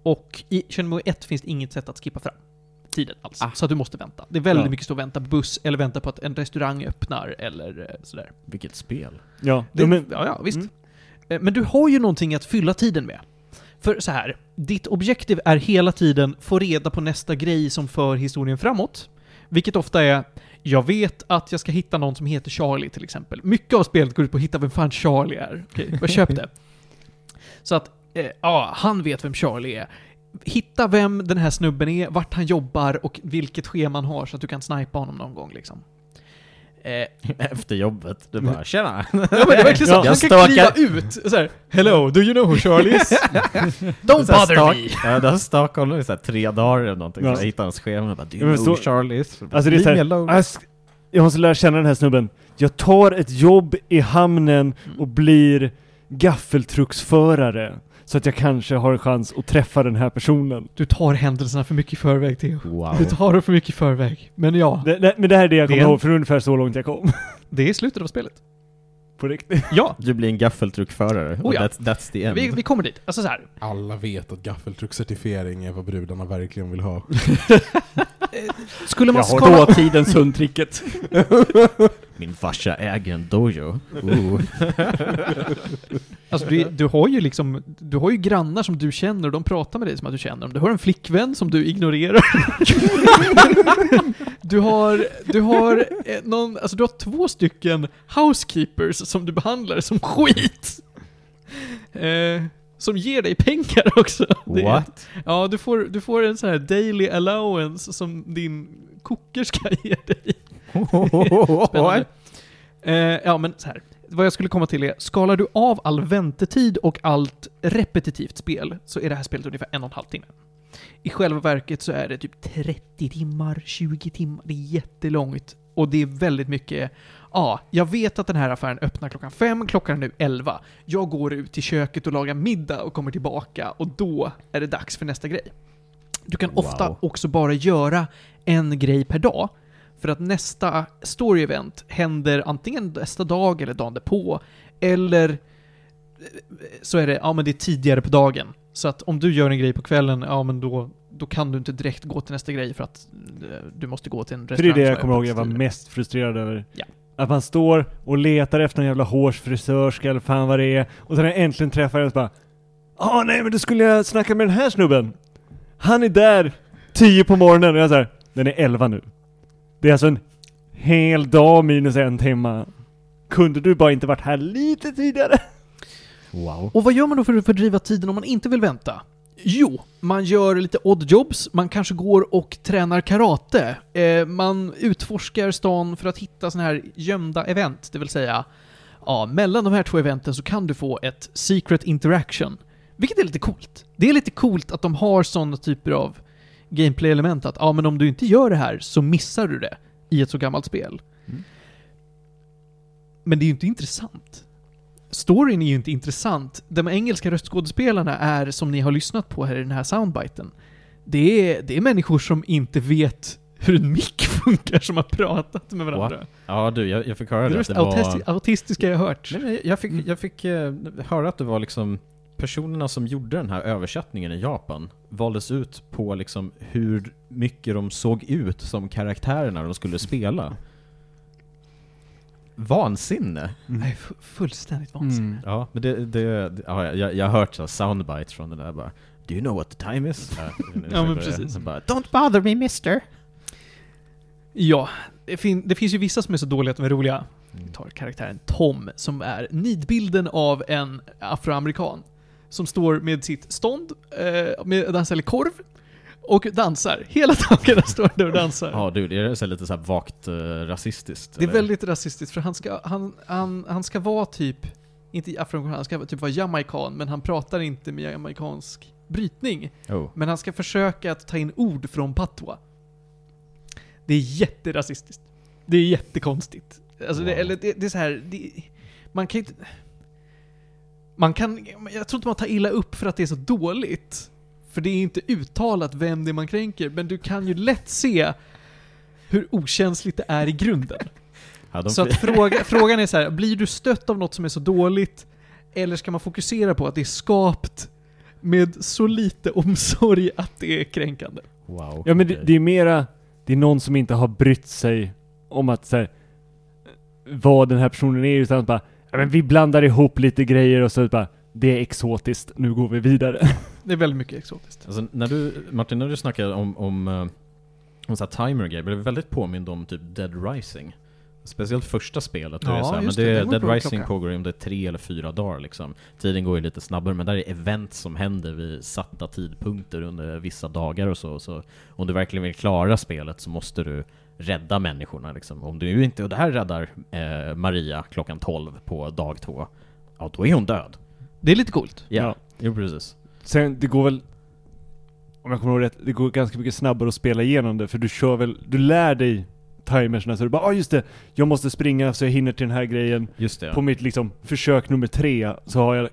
Och i Shenmue 1 finns det inget sätt att skippa fram tiden alls. Ah. Så att du måste vänta. Det är väldigt Ja. mycket stå och vänta på buss eller vänta på att en restaurang öppnar eller eh, sådär. Vilket spel. [LAUGHS] Ja, Det, ja, men, ja, ja, visst. Mm. Eh, Men du har ju någonting att fylla tiden med. För så här, ditt objektiv är hela tiden få reda på nästa grej som för historien framåt. Vilket ofta är, jag vet att jag ska hitta någon som heter Charlie till exempel. Mycket av spelet går ut på att hitta vem fan Charlie är. [LAUGHS] Okej, jag köp det. Så att, eh, ja, han vet vem Charlie är. Hitta vem den här snubben är, vart han jobbar och vilket schema han har så att du kan snipa honom någon gång liksom. Eh, Efter jobbet. Du [LAUGHS] bara ”Tjena!” Ja men det är verkligen så Ja. att man Jag kan stalkar- kliva ut och såhär Hello, do you know who Charlie is? [LAUGHS] Don't Så här bother stak- me! Ja, där stakade honom i så här tre dagar eller någonting. Ja. Så jag hittade hans schema och bara Ja, ”Do you men know så- Charlie is?” alltså det är Leave så me här, alone. jag sk- jag måste lära känna den här snubben. Jag tar ett jobb i hamnen och blir gaffeltrucksförare. Så att jag kanske har en chans att träffa den här personen. Du tar händelserna för mycket i förväg Theo. Wow. Du tar dem för mycket i förväg. Men ja, Det, det, men det här är det jag Det är kommer en- ihåg, för ungefär så långt jag kom. [LAUGHS] det är slutet av spelet. På riktigt. Ja, Du blir en gaffeltruckförare. Oh och ja. that's, that's the end. vi, vi kommer dit. Alltså såhär, Alla vet att gaffeltruckscertifiering är vad brudarna verkligen vill ha. skulle man Jag har skala... Dåtidens [LAUGHS] hundtricket. Min farsa äger en dojo. Ooh. Alltså du, du har ju liksom, du har ju grannar som du känner och de pratar med dig som att du känner dem. Du har en flickvän som du ignorerar. [LAUGHS] du har, du har eh, någon, alltså du har två stycken housekeepers som du behandlar som skit. Eh, som ger dig pengar också. Det är- What? Ja, du får, du får en sån här daily allowance som din kokerska ger dig. [LAUGHS] Spännande. Eh, ja, men så här. Vad jag skulle komma till är, skalar du av all väntetid och allt repetitivt spel så är det här spelet ungefär en och en halv timme. I själva verket så är det typ 30 timmar, 20 timmar, det är jättelångt. Och det är väldigt mycket, ja, jag vet att den här affären öppnar klockan fem, klockan är nu elva. Jag går ut till köket och lagar middag och kommer tillbaka och då är det dags för nästa grej. Du kan ofta Wow. också bara göra en grej per dag. För att nästa story event händer antingen nästa dag eller dagen därpå. Eller eh, så är det, ja men det är tidigare på dagen. Så att om du gör en grej på kvällen, ja men då, då kan du inte direkt gå till nästa grej för att eh, du måste gå till en För restaurang. det är det som jag kommer öppet ihåg jag var tidigare. mest frustrerad över. Ja. Att man står och letar efter en jävla hårsfrisörska eller fan vad det är. Och sen när jag äntligen träffar den så bara Ja nej men då skulle jag snacka med den här snubben. Han är där 10 på morgonen och jag säger Den är 11 nu. Det är alltså en hel dag minus en timma. Kunde du bara inte varit här lite tidigare? Wow. Och vad gör man då för att fördriva tiden om man inte vill vänta? Jo, man gör lite odd jobs, man kanske går och tränar karate. Eh, man utforskar stan för att hitta sådana här gömda event, det vill säga ja, mellan de här två eventen så kan du få ett secret interaction. Vilket är lite coolt. Det är lite coolt att de har sådana typer av gameplay-element att ja, men om du inte gör det här så missar du det i ett så gammalt spel. Mm. Men det är ju inte intressant. Storyn är ju inte intressant. De engelska röstskådespelarna är, som ni har lyssnat på här i den här soundbiten, det är, det är människor som inte vet hur en mick [LAUGHS] funkar som har pratat med varandra. Ja du, jag, jag fick Det höra är det det. att mest det var... autisti- autistiska jag hört. Nej, men jag fick, jag fick eh, höra att det var liksom personerna som gjorde den här översättningen i Japan valdes ut på liksom hur mycket de såg ut som karaktärerna de skulle spela. Vansinne! Nej, fu- fullständigt vansinnigt. Mm. Ja, men det, det, det ja, jag, jag har hört så här soundbites från det där bara Do you know what the time is? [LAUGHS] Ja, men precis. Sen bara, Don't bother me, mister. Ja, det, fin- det finns ju vissa som är så dåliga att de är roliga. Vi tar karaktären Tom, som är nidbilden av en afroamerikan. Som står med sitt stånd, eh, med, han säljer korv, och dansar. Hela dagarna står han där och dansar. Ja du, det är så här lite så här vagt eh, rasistiskt. det är eller? väldigt rasistiskt, för han ska, han, han, han ska vara typ, inte afroamerikan, han ska typ vara jamaican, men han pratar inte med jamaicansk brytning. Oh. Men han ska försöka att ta in ord från Patwa. Det är jätterasistiskt. Det är jättekonstigt. Alltså det, Wow. eller det, det är så här, det, man kan inte... Man kan, jag tror inte man tar illa upp för att det är så dåligt. För det är inte uttalat vem det är man kränker, men du kan ju lätt se hur okänsligt det är i grunden. Ja, de, Så att fråga, frågan är så här, blir du stött av något som är så dåligt? Eller ska man fokusera på att det är skapt med så lite omsorg att det är kränkande? wow. Ja men det, okej. det är mera, det är någon som inte har brytt sig om att så här, vad den här personen är utan bara, ja men vi blandar ihop lite grejer och så bara, det är exotiskt, nu går vi vidare. Det är väldigt mycket exotiskt. Alltså, när du, Martin, när du snackade om, om, eh, om så här timer och grejer, blev jag väldigt påmind om typ Dead Rising. Speciellt första spelet. då Ja, är det så här, men just det, det, den går på Dead en Rising klocka. pågår ju om det är tre eller fyra dagar liksom. Tiden går ju lite snabbare, men där är event som händer vid satta tidpunkter under vissa dagar och så. så om du verkligen vill klara spelet så måste du rädda människorna liksom. Om du inte, och det här räddar eh, Maria klockan 12 på dag två, ja då är hon död. Det är lite coolt. ja. jo precis. [LAUGHS] Sen, det går väl, om jag kommer ihåg rätt, det går ganska mycket snabbare att spela igenom det för du kör väl, du lär dig timersna så du bara ah just det, jag måste springa så jag hinner till den här grejen. Just det. På mitt liksom försök nummer tre så har jag,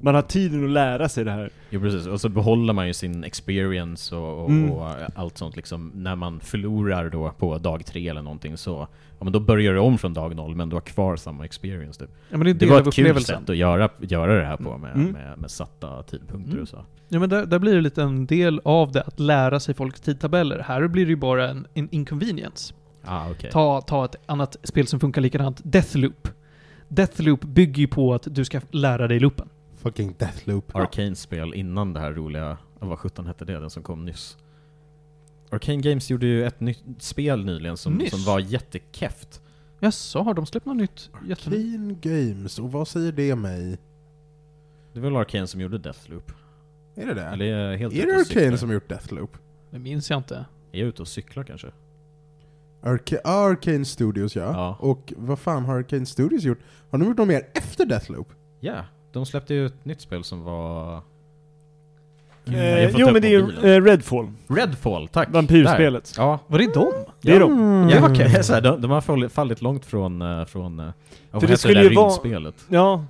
man har tiden att lära sig det här. Jo precis, och så behåller man ju sin experience och, och, Mm. och allt sånt liksom. När man förlorar då på dag tre eller någonting så, ja men då börjar du om från dag noll men du har kvar samma experience typ. Ja, men det är en Det del var av ett kul upplevelsen. sätt att göra, göra det här på med, Mm. med, med satta tidpunkter Mm. och så. Ja, men där, där blir det lite en del av det, att lära sig folks tidtabeller. Här blir det ju bara en, en inconvenience. Ah, okej. Ta, ta ett annat spel som funkar likadant, Deathloop. Deathloop bygger ju på att du ska lära dig loopen. Fucking Deathloop. Arcane spel innan det här roliga, ah, vad sjutton hette det, den som kom nyss? Arcane Games gjorde ju ett nytt spel nyligen som, Nyss? som var jättekeft. Jaså, har de släppt något nytt? Jättenytt. Arcane Games, och vad säger det mig? Det var väl Arcane som gjorde Deathloop? Är det det? Eller är jag helt är ute det och cyklar? Arcane som har gjort Deathloop? Det minns jag inte. Är jag ute och cyklar kanske? Arca Arcane Studios ja. Ja. Och vad fan har Arcane Studios gjort? Har de gjort något mer efter Deathloop? Ja, de släppte ju ett nytt spel som var... Mm, Eh, Jag får ta jo upp men det är ju mobilen. eh, Redfall, Redfall, tack! Där. vampyrspelet. Ja, Var det de? Det är de. Mm. Mm. ja okej. Så här, de, de har fallit, fallit långt från... eh, från eh, vad det heter skulle där ju vara- rymdspelet? Ja.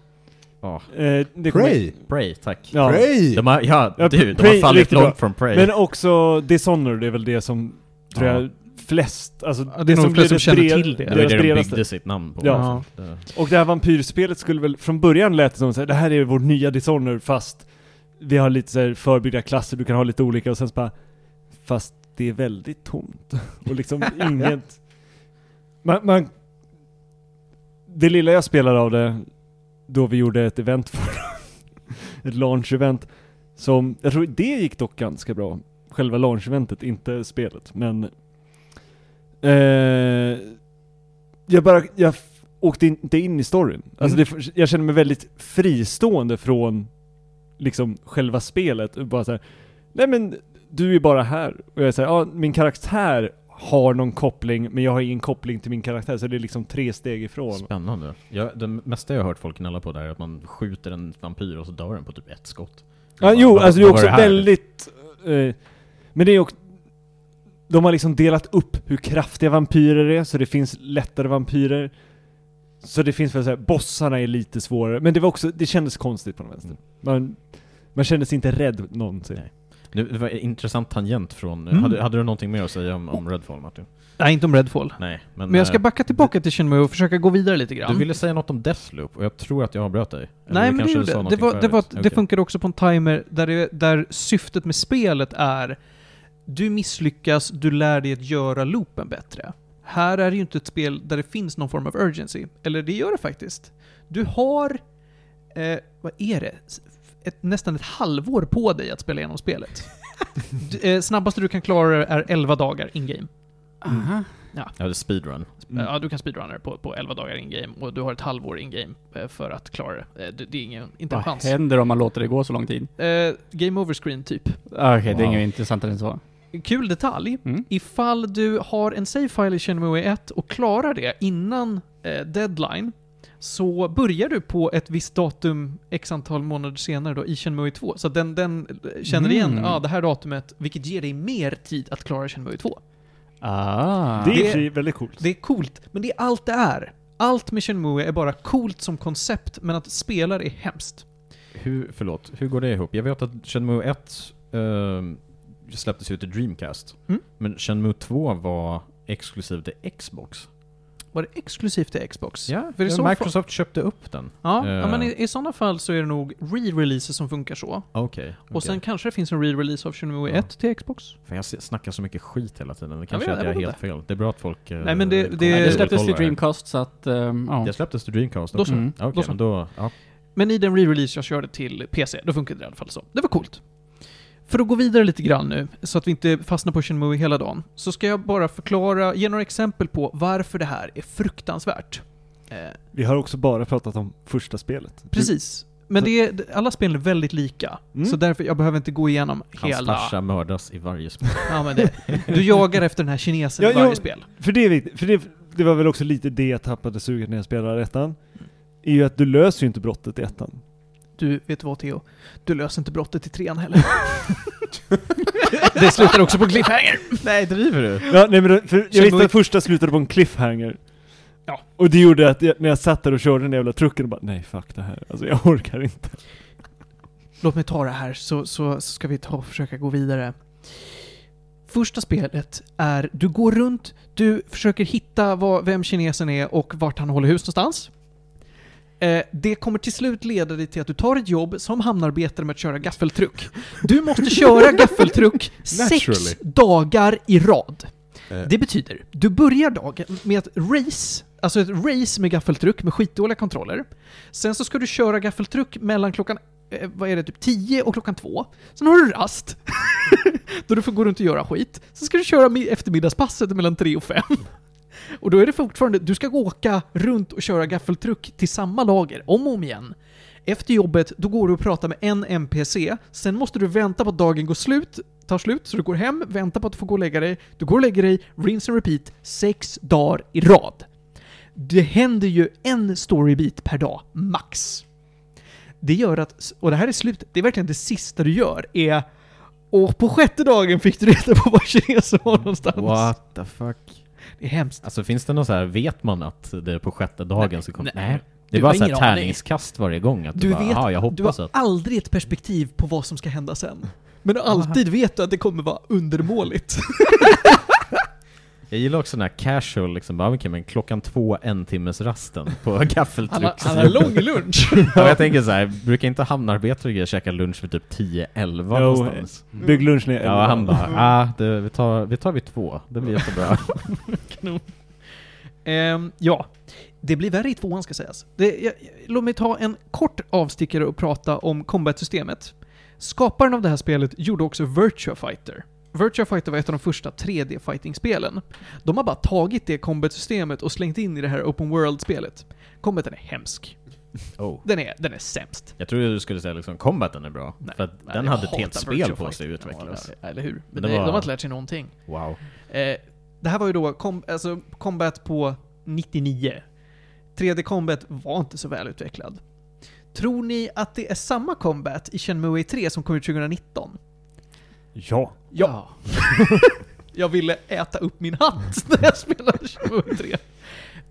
Ja. Eh, det kommer- Prey! Prey, tack. Ja. Prey! De har, ja, Ja, du, de Prey, har fallit riktigt långt bra. från Prey. Men också Dishonored är väl det som, tror Ja. jag, flest, alltså Ja, det är nog blir flest som känner bred- till det. det var deras det de bredaste. byggde sitt namn på. Ja. liksom. Det, Och det här vampyrspelet skulle väl, från början lät det som såhär, det här är vårt nya Dishonored fast vi har lite såhär förbyggda klasser, du kan ha lite olika och sen så bara, fast det är väldigt tomt. [LAUGHS] [LAUGHS] och liksom inget. Man, man, det lilla jag spelade av det, då vi gjorde ett event för [LAUGHS] ett launch-event, som, jag tror det gick dock ganska bra. Själva launch-eventet, inte spelet, men eh, jag bara, jag f- åkte in- inte in i storyn. Alltså det, jag kände mig väldigt fristående från liksom själva spelet. Och Bara så här, nej men du är bara här. Och jag säger, ja min karaktär har någon koppling, men jag har ingen koppling till min karaktär, så det är liksom tre steg ifrån. Spännande. Jag, det mesta jag har hört folk gnälla på där är att man skjuter en vampyr och så dör den på typ ett skott. Ja, Vad- jo, vad- alltså det är vad var också här? väldigt... Eh, men det är också... De har liksom delat upp hur kraftiga vampyrer är, så det finns lättare vampyrer. Så det finns väl såhär, bossarna är lite svårare. Men det var också, det kändes konstigt på något vänster. Man, man kände sig inte rädd någonsin. Nej. Nu, det var en intressant tangent från... Mm. Hade, hade du någonting mer att säga om, om Redfall Martin? Nej, inte om Redfall. Nej, men... Men jag ska eh, backa tillbaka till Shinmue och försöka gå vidare lite grann. Du ville säga något om Deathloop och jag tror att jag avbröt dig. Eller Nej du men det kanske sa gjorde det. Det, någonting var, det, var, förut. att det Okej. funkar också på en timer där, det, där syftet med spelet är du misslyckas, du lär dig att göra loopen bättre. Här är det ju inte ett spel där det finns någon form av urgency. Eller det gör det faktiskt. Du har, eh, vad är det? Ett, nästan ett halvår på dig att spela igenom [LAUGHS] spelet. D- eh, snabbaste du kan klara det är 11 dagar in-game. Aha. Ja, det är speedrun. Mm. Ja, du kan speedrunna det på, på 11 dagar in-game och du har ett halvår in-game eh, för att klara det. Eh, Det, det är ingen, inte en Vad chans. händer om man låter det gå så lång tid? Eh, game over screen typ. Okej, det är Wow. inget intressantare än så. Kul detalj. Mm. Ifall du har en save file i Shenmue 1 och klarar det innan eh, deadline så börjar du på ett visst datum x antal månader senare då i Shenmue 2. Så att den, den eh, känner igen Mm. ja, det här datumet, vilket ger dig mer tid att klara Shenmue 2. Ah. Det är i och för Det- sig väldigt coolt. Det är coolt, men det är allt det är. Allt med Shenmue är bara coolt som koncept, men att spela det är hemskt. Hur, förlåt, hur går det ihop? Jag vet att Shenmue 1 ehm, släpptes ju till Dreamcast. Mm. Men Shenmue 2 var exklusiv till Xbox. Var det exklusivt till Xbox? Ja, för i så Microsoft köpte upp den. Ja, ja Eh. men i, i sådana fall så är det nog re-releaser som funkar så. Okej. okej. Och sen kanske det finns en re-release av Shenmue Ja. 1 till Xbox. Fan, jag snackar så mycket skit hela tiden, det kanske vet, är att jag jag vet är helt fel. Det är bra att folk... eh, Nej, men det- kommer det- ihåg Nej, är- det släpptes till kollar här. Dreamcast så att, ehm, ja. Det släpptes till Dreamcast Då också? så. Mm. Okej, Då så. men då... Ja. Men i den re-release jag körde till PC, då funkade det i alla fall så. Det var coolt. För att gå vidare lite grann nu, så att vi inte fastnar på Shenmue hela dagen, så ska jag bara förklara, ge några exempel på varför det här är fruktansvärt. Eh, Vi har också bara pratat om första spelet. precis. Men det är, alla spel är väldigt lika, Mm. så därför, jag behöver inte gå igenom Hans hela... farsa mördas i varje spel. [LAUGHS] Ja, men det, du jagar efter den här kinesen i Ja, varje jo. spel. För det är viktigt, för det, det var väl också lite det jag tappade suget när jag spelade ettan. Är ju att du löser ju inte brottet i ettan. Du, vet du vad Theo? Du löser inte brottet i trean heller. det slutar också på cliffhanger. Nej, driver du? Ja, nej, men det- för jag visste Shenmue- att första slutade på en cliffhanger. Ja. Och det gjorde att jag, när jag satt där och körde den jävla trucken och bara nej fuck det här, alltså jag orkar inte. Låt mig ta det här så, så, så ska vi ta och försöka gå vidare. Första spelet är, du går runt, du försöker hitta vad, vem kinesen är och vart han håller hus någonstans. Eh, det kommer till slut leda dig till att du tar ett jobb som hamnarbetare med att köra gaffeltruck. Du måste köra gaffeltruck sex [LAUGHS] Naturally. dagar i rad. Eh. Det betyder, du börjar dagen med ett race, alltså ett race med gaffeltruck med skitdåliga kontroller. Sen så ska du köra gaffeltruck mellan klockan, eh, vad är det, typ 10 och klockan 2. Sen har du rast, [LAUGHS] då du får gå runt och göra skit. Sen ska du köra mi- eftermiddagspasset mellan 3 och 5. Och då är det fortfarande, du ska åka runt och köra gaffeltruck till samma lager, om och om igen. Efter jobbet, då går du och pratar med en NPC, sen måste du vänta på att dagen går slut, tar slut, så du går hem, väntar på att du får gå och lägga dig, du går och lägger dig, rinse and repeat, sex dagar i rad. Det händer ju en storybit per dag, max. Det gör att, och det här är slutet, det är verkligen det sista du gör, är och på sjätte dagen fick du reda på var kinesen var någonstans. [LAUGHS] What the fuck? Det är hemskt. Alltså finns det någon så här, vet man att det är på sjätte dagen så kommer... nej. Det är Du bara har så här ingen aning. tärningskast varje gång, att du, Du bara, vet- "Aha, jag Du har hoppas att... aldrig ett perspektiv på vad som ska hända sen. Men alltid vet du att det kommer vara [LAUGHS] undermåligt. Jag gillar också den här casual, liksom, bara, okej, men klockan två, en timmes rasten på [LAUGHS] gaffeltruck. Han har, han har lång [LAUGHS] lunch. ja, jag tänker så här, brukar inte hamnarbetare och grejer käka lunch vid typ 10-11 Jo, någonstans? Mm. Bygg lunch ner. Ja, han bara, ah, det, vi, tar, vi tar vid två, det blir [LAUGHS] jättebra. [LAUGHS] Ehm, ja, det blir värre i tvåan ska sägas. Det, jag, jag- låt mig ta en kort avstickare och prata om combat-systemet. Skaparen av det här spelet gjorde också Virtua Fighter. Virtua Fighter var ett av de första 3D-fighting-spelen. De har bara tagit det combat-systemet och slängt in i det här Open World-spelet. Combaten är hemsk. Oh. Den är, den är sämst. Jag trodde du skulle säga liksom, combaten är bra, Nej, för att Nej, den jag hade ett hatar helt Virtua spel på sig Fighter. att utvecklas. Ja, eller hur? Men det det- var- De har inte lärt sig någonting. Wow. Eh, Det här var ju då kom, alltså, combat på 99. 3D combat var inte så välutvecklad. Tror ni att det är samma combat i Shenmue 3 som kom ut 2019? Ja. Ja. [LAUGHS] jag ville äta upp min hatt [LAUGHS] när jag spelade Shenmue 3.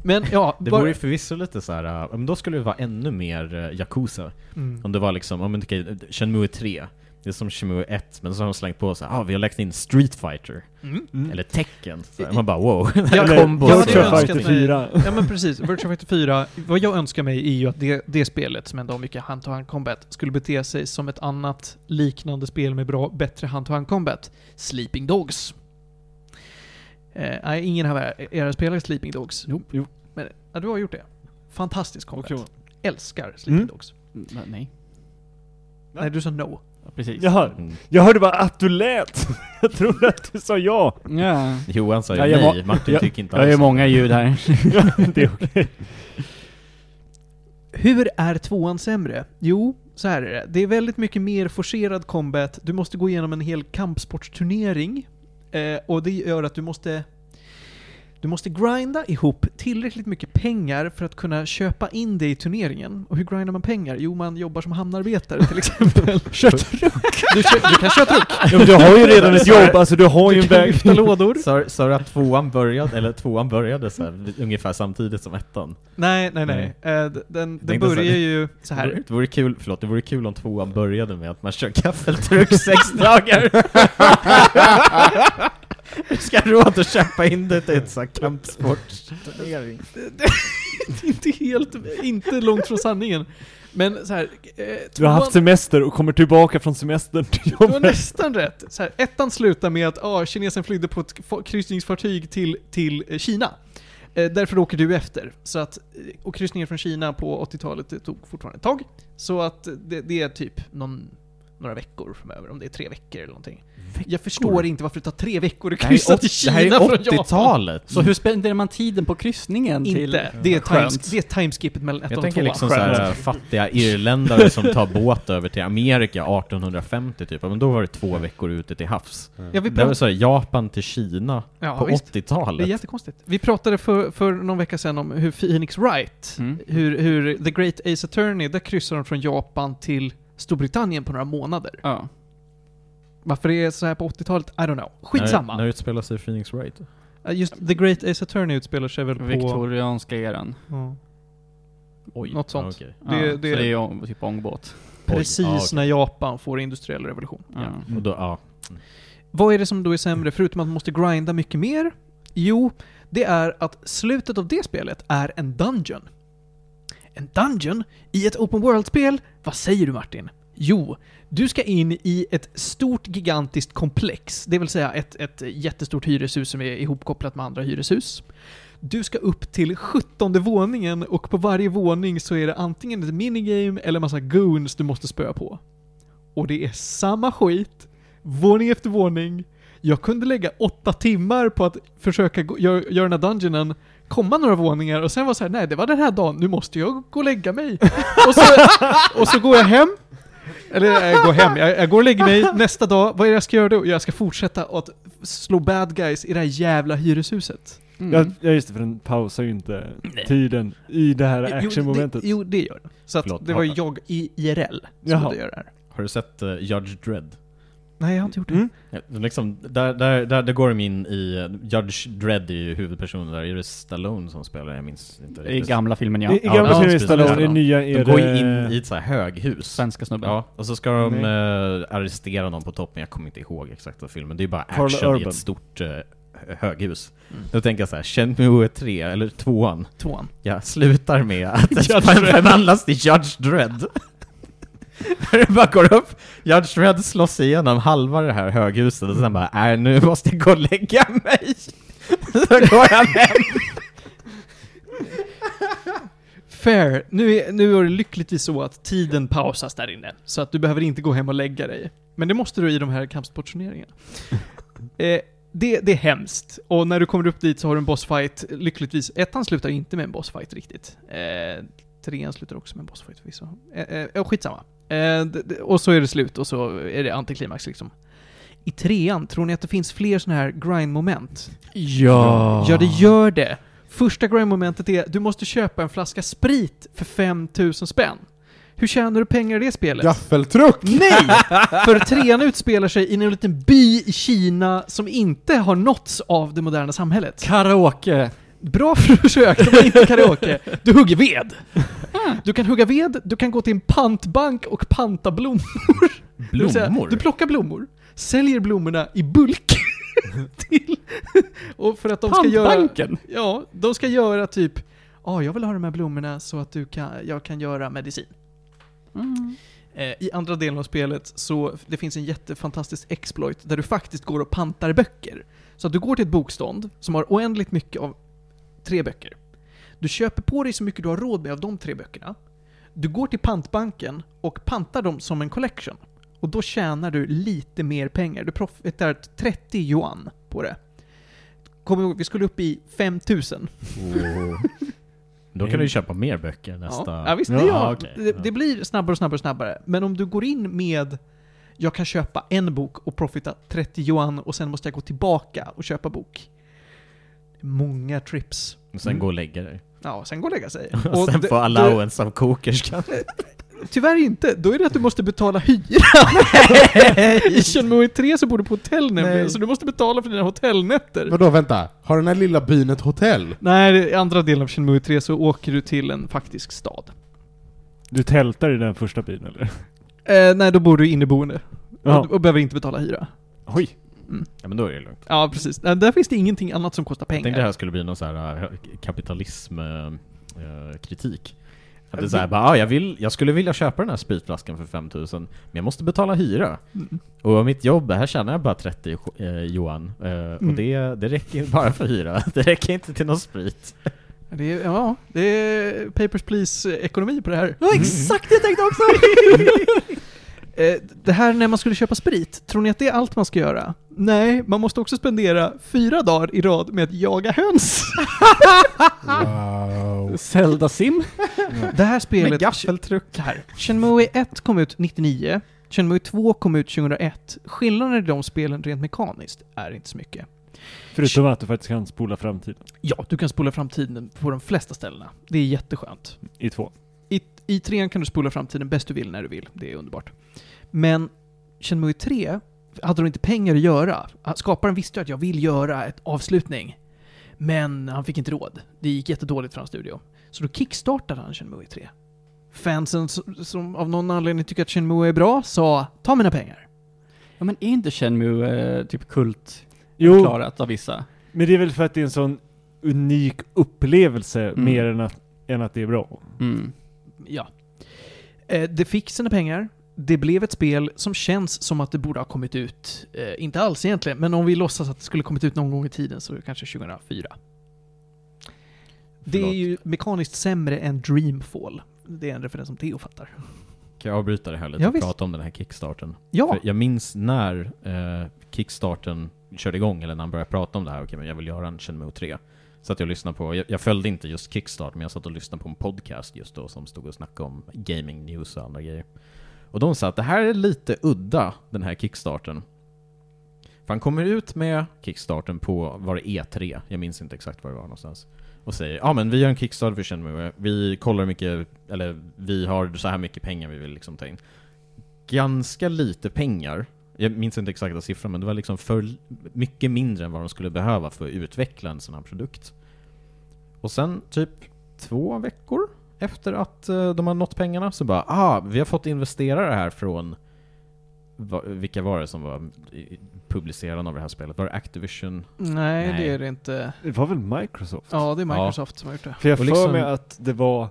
Men ja, Det bara- vore ju förvisso lite så här. äh, men då skulle det vara ännu mer äh, Yakuza. Mm. Om det var liksom, om inte Shenmue 3. Det är som Shenmue 1, men så har de slängt på så här, ah, vi har lagt in Street Fighter. Mm. Eller tecken. Så här, man [LAUGHS] bara wow. Ja, Eller kombo. Virtua Jag hade ju önskat Fighter mig- 4. Ja men precis, Virtua Fighter 4, vad jag önskar mig är ju att det, det spelet som ändå har mycket hand-to-hand combat skulle bete sig som ett annat liknande spel med bra, bättre hand-to-hand combat. Sleeping Dogs. Eh, nej, ingen av er, er har spelat Sleeping Dogs. Jo, jo. Men, ja, du har gjort det. Fantastisk combat. Okej. Älskar Sleeping Mm. Dogs. Mm, Nej, Nej, du sa no. ja, precis. Jaha, Mm. jag hörde bara att du lät. [LAUGHS] Jag trodde att du sa ja. Ja. Johan sa ju Jag gör nej, ma- Martin jag- tycker inte Jag gör alls [LAUGHS] många ljud här. Det är okej. Hur är tvåan sämre? Jo, så här är det. Det är väldigt mycket mer forcerad combat. Du måste gå igenom en hel kampsportsturnering. Eh, och det gör att du måste... Du måste grinda ihop tillräckligt mycket pengar för att kunna köpa in dig i turneringen. Och hur grindar man pengar? Jo, man jobbar som hamnarbetare till [LAUGHS] exempel. Köttruck! Du, kö- du kan köpa truck, Ja, men du har ju redan [LAUGHS] ett jobb, alltså du har ju en väg. lyfta lådor. Sa- Sa du att tvåan började, eller tvåan började så här, ungefär samtidigt som ettan? Nej, nej, nej. Eh, d- den den tänkte så här- börjar ju så [LAUGHS] Det vore- här. Det vore kul, förlåt, det vore kul om tvåan började med att man kör gaffeltruck [LAUGHS] sex dagar. Du ska ha råd att köpa in det till en sån här kampsportsturnering. inte helt, inte långt från sanningen. Men så här, eh, Du har tvåan- haft semester och kommer tillbaka från semestern till Det var jobbet. nästan rätt. Så här, ettan slutar med att ah, kinesen flydde på ett f- kryssningsfartyg till, till eh, Kina. Eh, därför åker du efter. Så att, eh, och kryssningen från Kina på 80-talet det tog fortfarande ett tag. Så att eh, det, det är typ någon, några veckor framöver, om det är tre veckor eller någonting. Jag förstår inte varför det tar tre veckor att Det här är kryssa till åt- det Kina här är från Japan. 80-talet. [LAUGHS] Så hur spenderar man tiden på kryssningen till... Inte. Det är, Skönt. times, det är timeskippet mellan ettan Jag och tänker tvåan. liksom så här, fattiga irländare som tar båt över till Amerika 1850 typ, Ja, men då var det två veckor ute till havs. Ja, vi Det var pratar, så här, Japan till Kina ja, på visst. Det är 80-talet. jättekonstigt. Vi pratade för, för någon vecka sedan om hur Phoenix Wright, Mm. hur, hur The Great Ace Attorney, där kryssar de från Japan till Storbritannien på några månader. Ja. Varför det är så här på 80-talet, I don't know. När, Skitsamma. när utspelar sig Phoenix Wright? Eh, Just The Great Ace Attorney utspelar sig väl på... Viktorianska eran. Ja. Oj. Något sånt. okej. Ja, Det- det, det- Så det är om- typ ångbåt. Precis ja, okej. när Japan får industriell revolution. Ja. Och då, ja. Vad är det som då är sämre, förutom att man måste grinda mycket mer? Jo, det är att slutet av det spelet är en dungeon. En dungeon i ett open world-spel? Vad säger du Martin? Jo, du ska in i ett stort gigantiskt komplex, det vill säga ett, ett jättestort hyreshus som är ihopkopplat med andra hyreshus. Du ska upp till 17 våningen och på varje våning så är det antingen ett minigame eller massa goons du måste spöa på. Och det är samma skit, våning efter våning. Jag kunde lägga åtta timmar på att försöka gå, gör, göra den här dungeonen, komma några våningar och sen var så här, nej det var den här dagen, nu måste jag gå och lägga mig. och, så, och så går jag hem. Eller jag går hem, jag, jag går och lägger mig nästa dag, vad är det jag ska göra då? Jag ska fortsätta att slå bad guys i det här jävla hyreshuset. Mm. Ja, ja just det, för den pausar ju inte tiden i det här actionmomentet. Jo, det, jo, det gör den. Så att Förlåt, det var ju hoppa. jag i IRL som Jaha. hade göra det här. Har du sett eh, Judge Dredd? Nej, jag har inte gjort det. Mm. Ja, de liksom, där, där, där, där går de in i... eh, Judge Dredd är ju huvudpersonen där. Är det Stallone som spelar? Jag minns inte I gamla filmen ja. I, i Ja, gamla precis. filmen är Stallone, i Ja. nya är De det... går ju in i ett så här höghus. Svenska snubben. Ja, och så ska de eh, arrestera någon på toppen. Jag kommer inte ihåg exakt vad filmen. Det är bara Carl action i Urban. Mm. ett stort eh, höghus. Då tänker jag så här, Shenmue 3, eller 2an, Tvåan. jag slutar med [LAUGHS] att man förvandlas till Judge Dredd. Det bara går upp, Judge Dredd slåss igenom halva det här höghuset och sen bara äh, nu måste jag gå och lägga mig. [LAUGHS] Så går han hem. Fair. Nu är, nu är det lyckligtvis så att tiden pausas där inne. Så att du behöver inte gå hem och lägga dig. Men det måste du i de här kampsportsturneringarna. [LAUGHS] eh, det, det är hemskt. Och när du kommer upp dit så har du en bossfight. Lyckligtvis, ettan slutar inte med en bossfight riktigt. Eh, trean slutar också med en bossfight förvisso. Eh, eh, skitsamma. Eh, d- d- och så är det slut och så är det antiklimax liksom. I trean, tror ni att det finns fler sådana här grind-moment? Ja. Ja, det gör det. Första grind-momentet är du måste köpa en flaska sprit för 5000 spänn. Hur tjänar du pengar i det spelet? Gaffeltruck! Nej! För trean utspelar sig i en liten by i Kina som inte har nåtts av det moderna samhället. Karaoke. Bra försök, det var inte karaoke. Du hugger ved. Du kan hugga ved, du kan gå till en pantbank och panta blommor. Det vill säga, Blommor? Du plockar blommor, säljer blommorna i bulk. [LAUGHS] till, och för att de ska göra... Pantbanken. Ja, de ska göra typ Ja, jag vill ha de här blommorna så att du kan, jag kan göra medicin. Eh, I andra delen av spelet så det finns en jättefantastisk exploit där du faktiskt går och pantar böcker. Så att du går till ett bokstånd som har oändligt mycket av tre böcker. Du köper på dig så mycket du har råd med av de tre böckerna. Du går till pantbanken och pantar dem som en collection. Och då tjänar du lite mer pengar. Du profitar 30 yuan på det. Kom ihåg, vi skulle upp i 5000. Då kan du ju köpa mer böcker nästa... Ja, ja visst, det, Ja, gör jag. okej. det, det blir snabbare och snabbare och snabbare. Men om du går in med jag kan köpa en bok och profita 30 yuan och sen måste jag gå tillbaka och köpa bok. Många trips. Och sen gå och lägga dig. Ja, sen gå och lägga sig. [LAUGHS] Och, sen d- få allowance av kokerskan. d- Tyvärr inte, då är det att du måste betala [LAUGHS] hyra. [LAUGHS] I Shenmue 3 så bor du på hotell nämligen, så du måste betala för dina hotellnätter. [LAUGHS] Vadå, vänta? Har den här lilla byn ett hotell? Nej, i andra delen av Shenmue 3 så åker du till en faktisk stad. Du tältar i den första byn eller? Eh, nej, då bor du inneboende Ja. och, och behöver inte betala hyra. Oj. Ja men då är det lugnt. Ja, precis. Nej, Där finns det ingenting annat som kostar Jag tänkte det pengar. här skulle bli någon så här eh, kapitalism eh, eh, kritik. Att det är såhär bara, ah, jag, vill, jag skulle vilja köpa den här spritflaskan för 5000 men jag måste betala hyra. Mm. Och mitt jobb, här tjänar jag bara 30 eh, Johan. Eh, Mm. Och det, det räcker bara för hyra, [LAUGHS] det räcker inte till någon sprit. Det är, ja, det är Papers, Please-ekonomi på det [LAUGHS] här. Mm. exakt det jag tänkte också! Eh, det här när man skulle köpa sprit, tror ni att det är allt man ska göra? Nej, man måste också spendera fyra dagar i rad med att jaga [LAUGHS] höns. Wow. [LAUGHS] Zelda Sim. Det här spelet... Med gaffeltruck. här. Shenmue 1 kom ut 99. Shenmue 2 kom ut 2001. Skillnaden i de spelen rent mekaniskt är inte så mycket. Förutom att du faktiskt kan spola framtiden. Ja, du kan spola fram tiden på de flesta ställena. Det är jätteskönt. I två. I, I trean kan du spola fram tiden bäst du vill när du vill. Det är underbart. Men Shenmue 3 hade de inte pengar att göra. Skaparen visste ju att jag vill göra ett avslutning. Men han fick inte råd. Det gick jättedåligt för hans studio. Så då kickstartade han Shenmue 3. Fansen s- som av någon anledning tycker att Shenmue är bra sa ta mina pengar. Ja, men är inte Shenmue eh, typ Oh. kult Jo, klarat av vissa? men det är väl för att det är en sån unik upplevelse mer än att, än att det är bra. Mm. Ja. Eh, Det fick sina pengar. Det blev ett spel som känns som att det borde ha kommit ut, eh, inte alls egentligen, men om vi låtsas att det skulle kommit ut någon gång i tiden så kanske 2004. Det är Förlåt. ju mekaniskt sämre än Dreamfall. Det är en referens som Theo fattar. Kan jag avbryta det här lite Ja, och visst. prata om den här kickstarten? Ja, För jag minns när eh, Kickstarten körde igång, eller när han började prata om det här, okej men jag vill göra en Shenmue 3. Så att jag lyssnade på, jag, jag följde inte just Kickstart, men jag satt och lyssnade på en podcast just då som stod och snackade om gaming news och andra grejer. Och de sa att det här är lite udda, den här Kickstarten. För han kommer ut med Kickstarten på, var det E3? Jag minns inte exakt var det var någonstans. Och säger ja men vi gör en Kickstarter för Shenmue. vi kollar hur mycket, eller vi har så här mycket pengar vi vill liksom ta in ganska lite pengar. Jag minns inte exakta siffran, men det var liksom för l- mycket mindre än vad de skulle behöva för att utveckla en sån här produkt. Och sen typ två veckor efter att eh, de har nått pengarna så bara ah, vi har fått investerare här från va, vilka var det som var i- i- publicerarna av det här spelet? Var det Activision? nej, Nej. det är det inte. Det var väl Microsoft? Ja, det är Microsoft som har gjort det. För jag Och får liksom- mig att det var...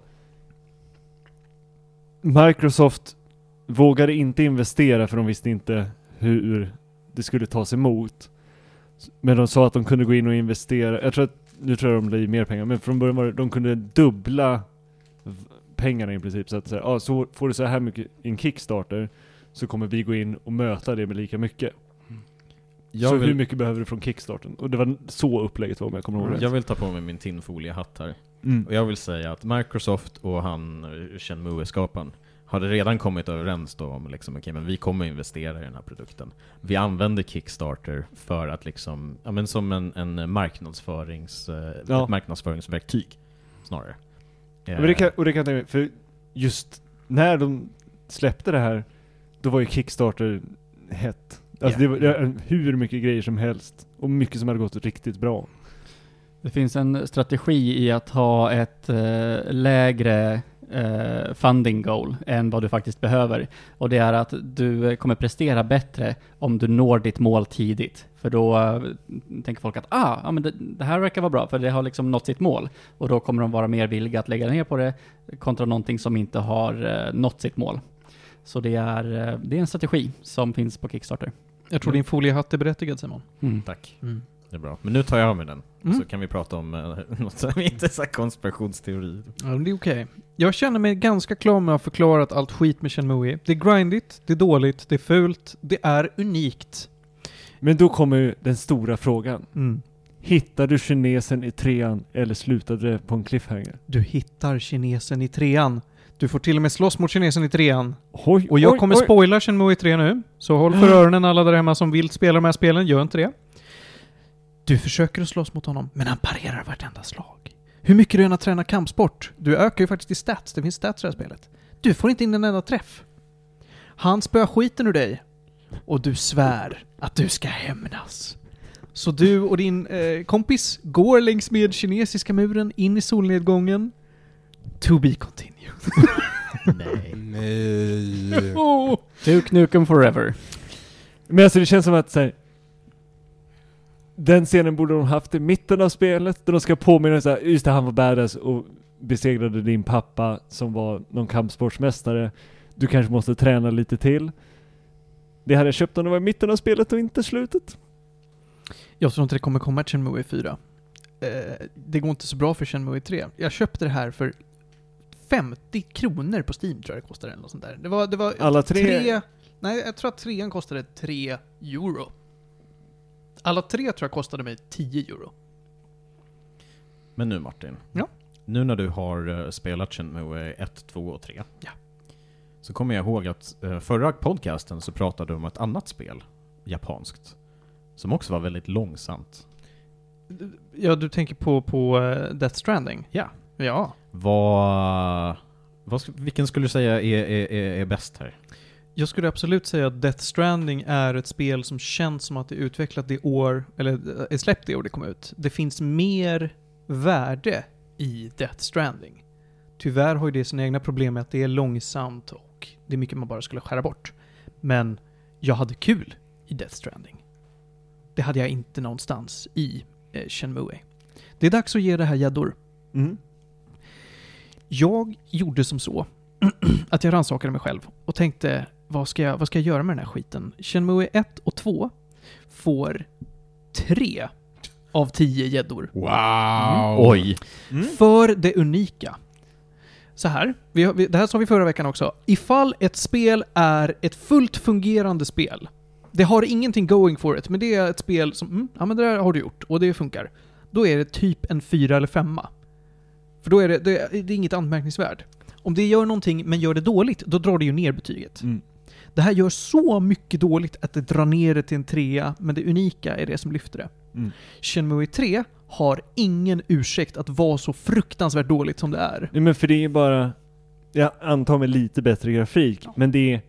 Microsoft vågade inte investera för de visste inte hur det skulle tas emot. Men de sa att de kunde gå in och investera, jag tror att, nu tror jag de la i mer pengar, men från början var det, de kunde dubbla v- pengarna i princip. Så att säga, ah, så får du så här mycket i en Kickstarter så kommer vi gå in och möta det med lika mycket. så hur mycket behöver du från Kickstarten? Och det var så upplägget var om jag kommer ihåg rätt. Mm. jag vill ta på mig min tinfoliehatt här. Mm. Och jag vill säga att Microsoft och han eh, Shenmue skaparen hade redan kommit överens då om liksom, okej, men vi kommer investera i den här produkten. Vi använder Kickstarter för att liksom, ja, men som en, en marknadsförings, eh, Ja. ett marknadsföringsverktyg snarare. Eh, Men det kan, och det kan jag tänka mig, för just när de släppte det här, då var ju Kickstarter hett. Alltså Ja. det var det var hur mycket grejer som helst, och mycket som hade gått riktigt bra. Det finns en strategi i att ha ett eh, lägre eh, funding goal än vad du faktiskt behöver. Och det är att du eh, kommer prestera bättre om du når ditt mål tidigt. För då eh, tänker folk att ah, ja, men det, det här verkar vara bra, för det har liksom nått sitt mål. Och då kommer de vara mer villiga att lägga ner på det kontra någonting som inte har eh, nått sitt mål. Så det är, eh, det är en strategi som finns på Kickstarter. Jag tror din foliehatt är berättigad Simon. Tack, Mm. det är bra. Men nu tar jag av mig den, Mm. så kan vi prata om eh, [LAUGHS] något som inte är så här konspirationsteori. Ja, men det är okej. Jag känner mig ganska klar med att ha förklarat allt skit med Shenmue. Det är grindigt, det är dåligt, det är fult, det är unikt. Men då kommer ju den stora frågan. Mm. Hittar du kinesen i trean eller slutade det på en cliffhanger? Du hittar kinesen i trean. Du får till och med slåss mot kinesen i trean. Oj, Och jag oj, kommer oj. Mm. spoila Shenmue 3 nu, så håll för öronen alla där hemma som vill spela de här spelen, gör inte det. Du försöker att slåss mot honom, men han parerar vartenda slag. Hur mycket du än har tränat kampsport, du ökar ju faktiskt i stats, det finns stats i det här spelet. Du får inte in en enda träff. Han spöar skiten ur dig. Och du svär att du ska hämnas. Så du och din eh, kompis går längs med kinesiska muren in i solnedgången. To be continued. Nej. Nej. [LAUGHS] Oh. Duke Nukem Forever. Men alltså det känns som att så här, den scenen borde de haft i mitten av spelet, där de ska påminna så här, just det, han var badass och besegrade din pappa som var någon kampsportsmästare. Du kanske måste träna lite till. Det hade jag köpt om det var i mitten av spelet och inte slutet. Jag tror inte det kommer komma ett Shenmue 4. Eh, det går inte så bra för Shenmue 3. Jag köpte det här för 50 kronor på Steam tror jag det kostade eller något sånt där. Det var, det var Alla tre- Nej, jag tror att trean kostade 3 euro. Alla tre tror jag kostade mig 10 euro. Men nu Martin. Ja. Nu när du har eh, spelat Shenmue 1, 2 och 3. Ja. Så kommer jag ihåg att eh, förra podcasten så pratade du om ett annat spel, japanskt. Som också var väldigt långsamt. Ja, du tänker på, på eh, Death Stranding? Ja. Ja. Vad... vad sk- vilken skulle du säga är, är, är, är bäst här? Jag skulle absolut säga att Death Stranding är ett spel som känns som att det är utvecklat det år, eller eh, är släppt det år det kom ut. Det finns mer värde i Death Stranding. Tyvärr har ju det sina egna problem med att det är långsamt och det är mycket man bara skulle skära bort. Men jag hade kul i Death Stranding. Det hade jag inte någonstans i eh, Shenmue. Det är dags att ge det här gäddor. Jag gjorde som så [CLEARS THROAT] att jag rannsakade mig själv och tänkte vad ska jag, vad ska jag göra med den här skiten? Shenmue 1 och 2 får 3 av 10 gäddor. Wow! Oj! För det unika. Så här, vi, har- vi, det här sa vi förra veckan också. Ifall ett spel är ett fullt fungerande spel, det har ingenting going for it, men det är ett spel som, mm, ja men det där har du gjort och det funkar. Då är det typ en fyra eller femma. För då är det, det, det är inget anmärkningsvärt. Om det gör någonting men gör det dåligt, då drar det ju ner betyget. Mm. Det här gör så mycket dåligt att det drar ner det till en trea, men det unika är det som lyfter det. Mm. Shenmue 3 har ingen ursäkt att vara så fruktansvärt dåligt som det är. Nej men för det är ju bara, jag antar med lite bättre grafik, men det är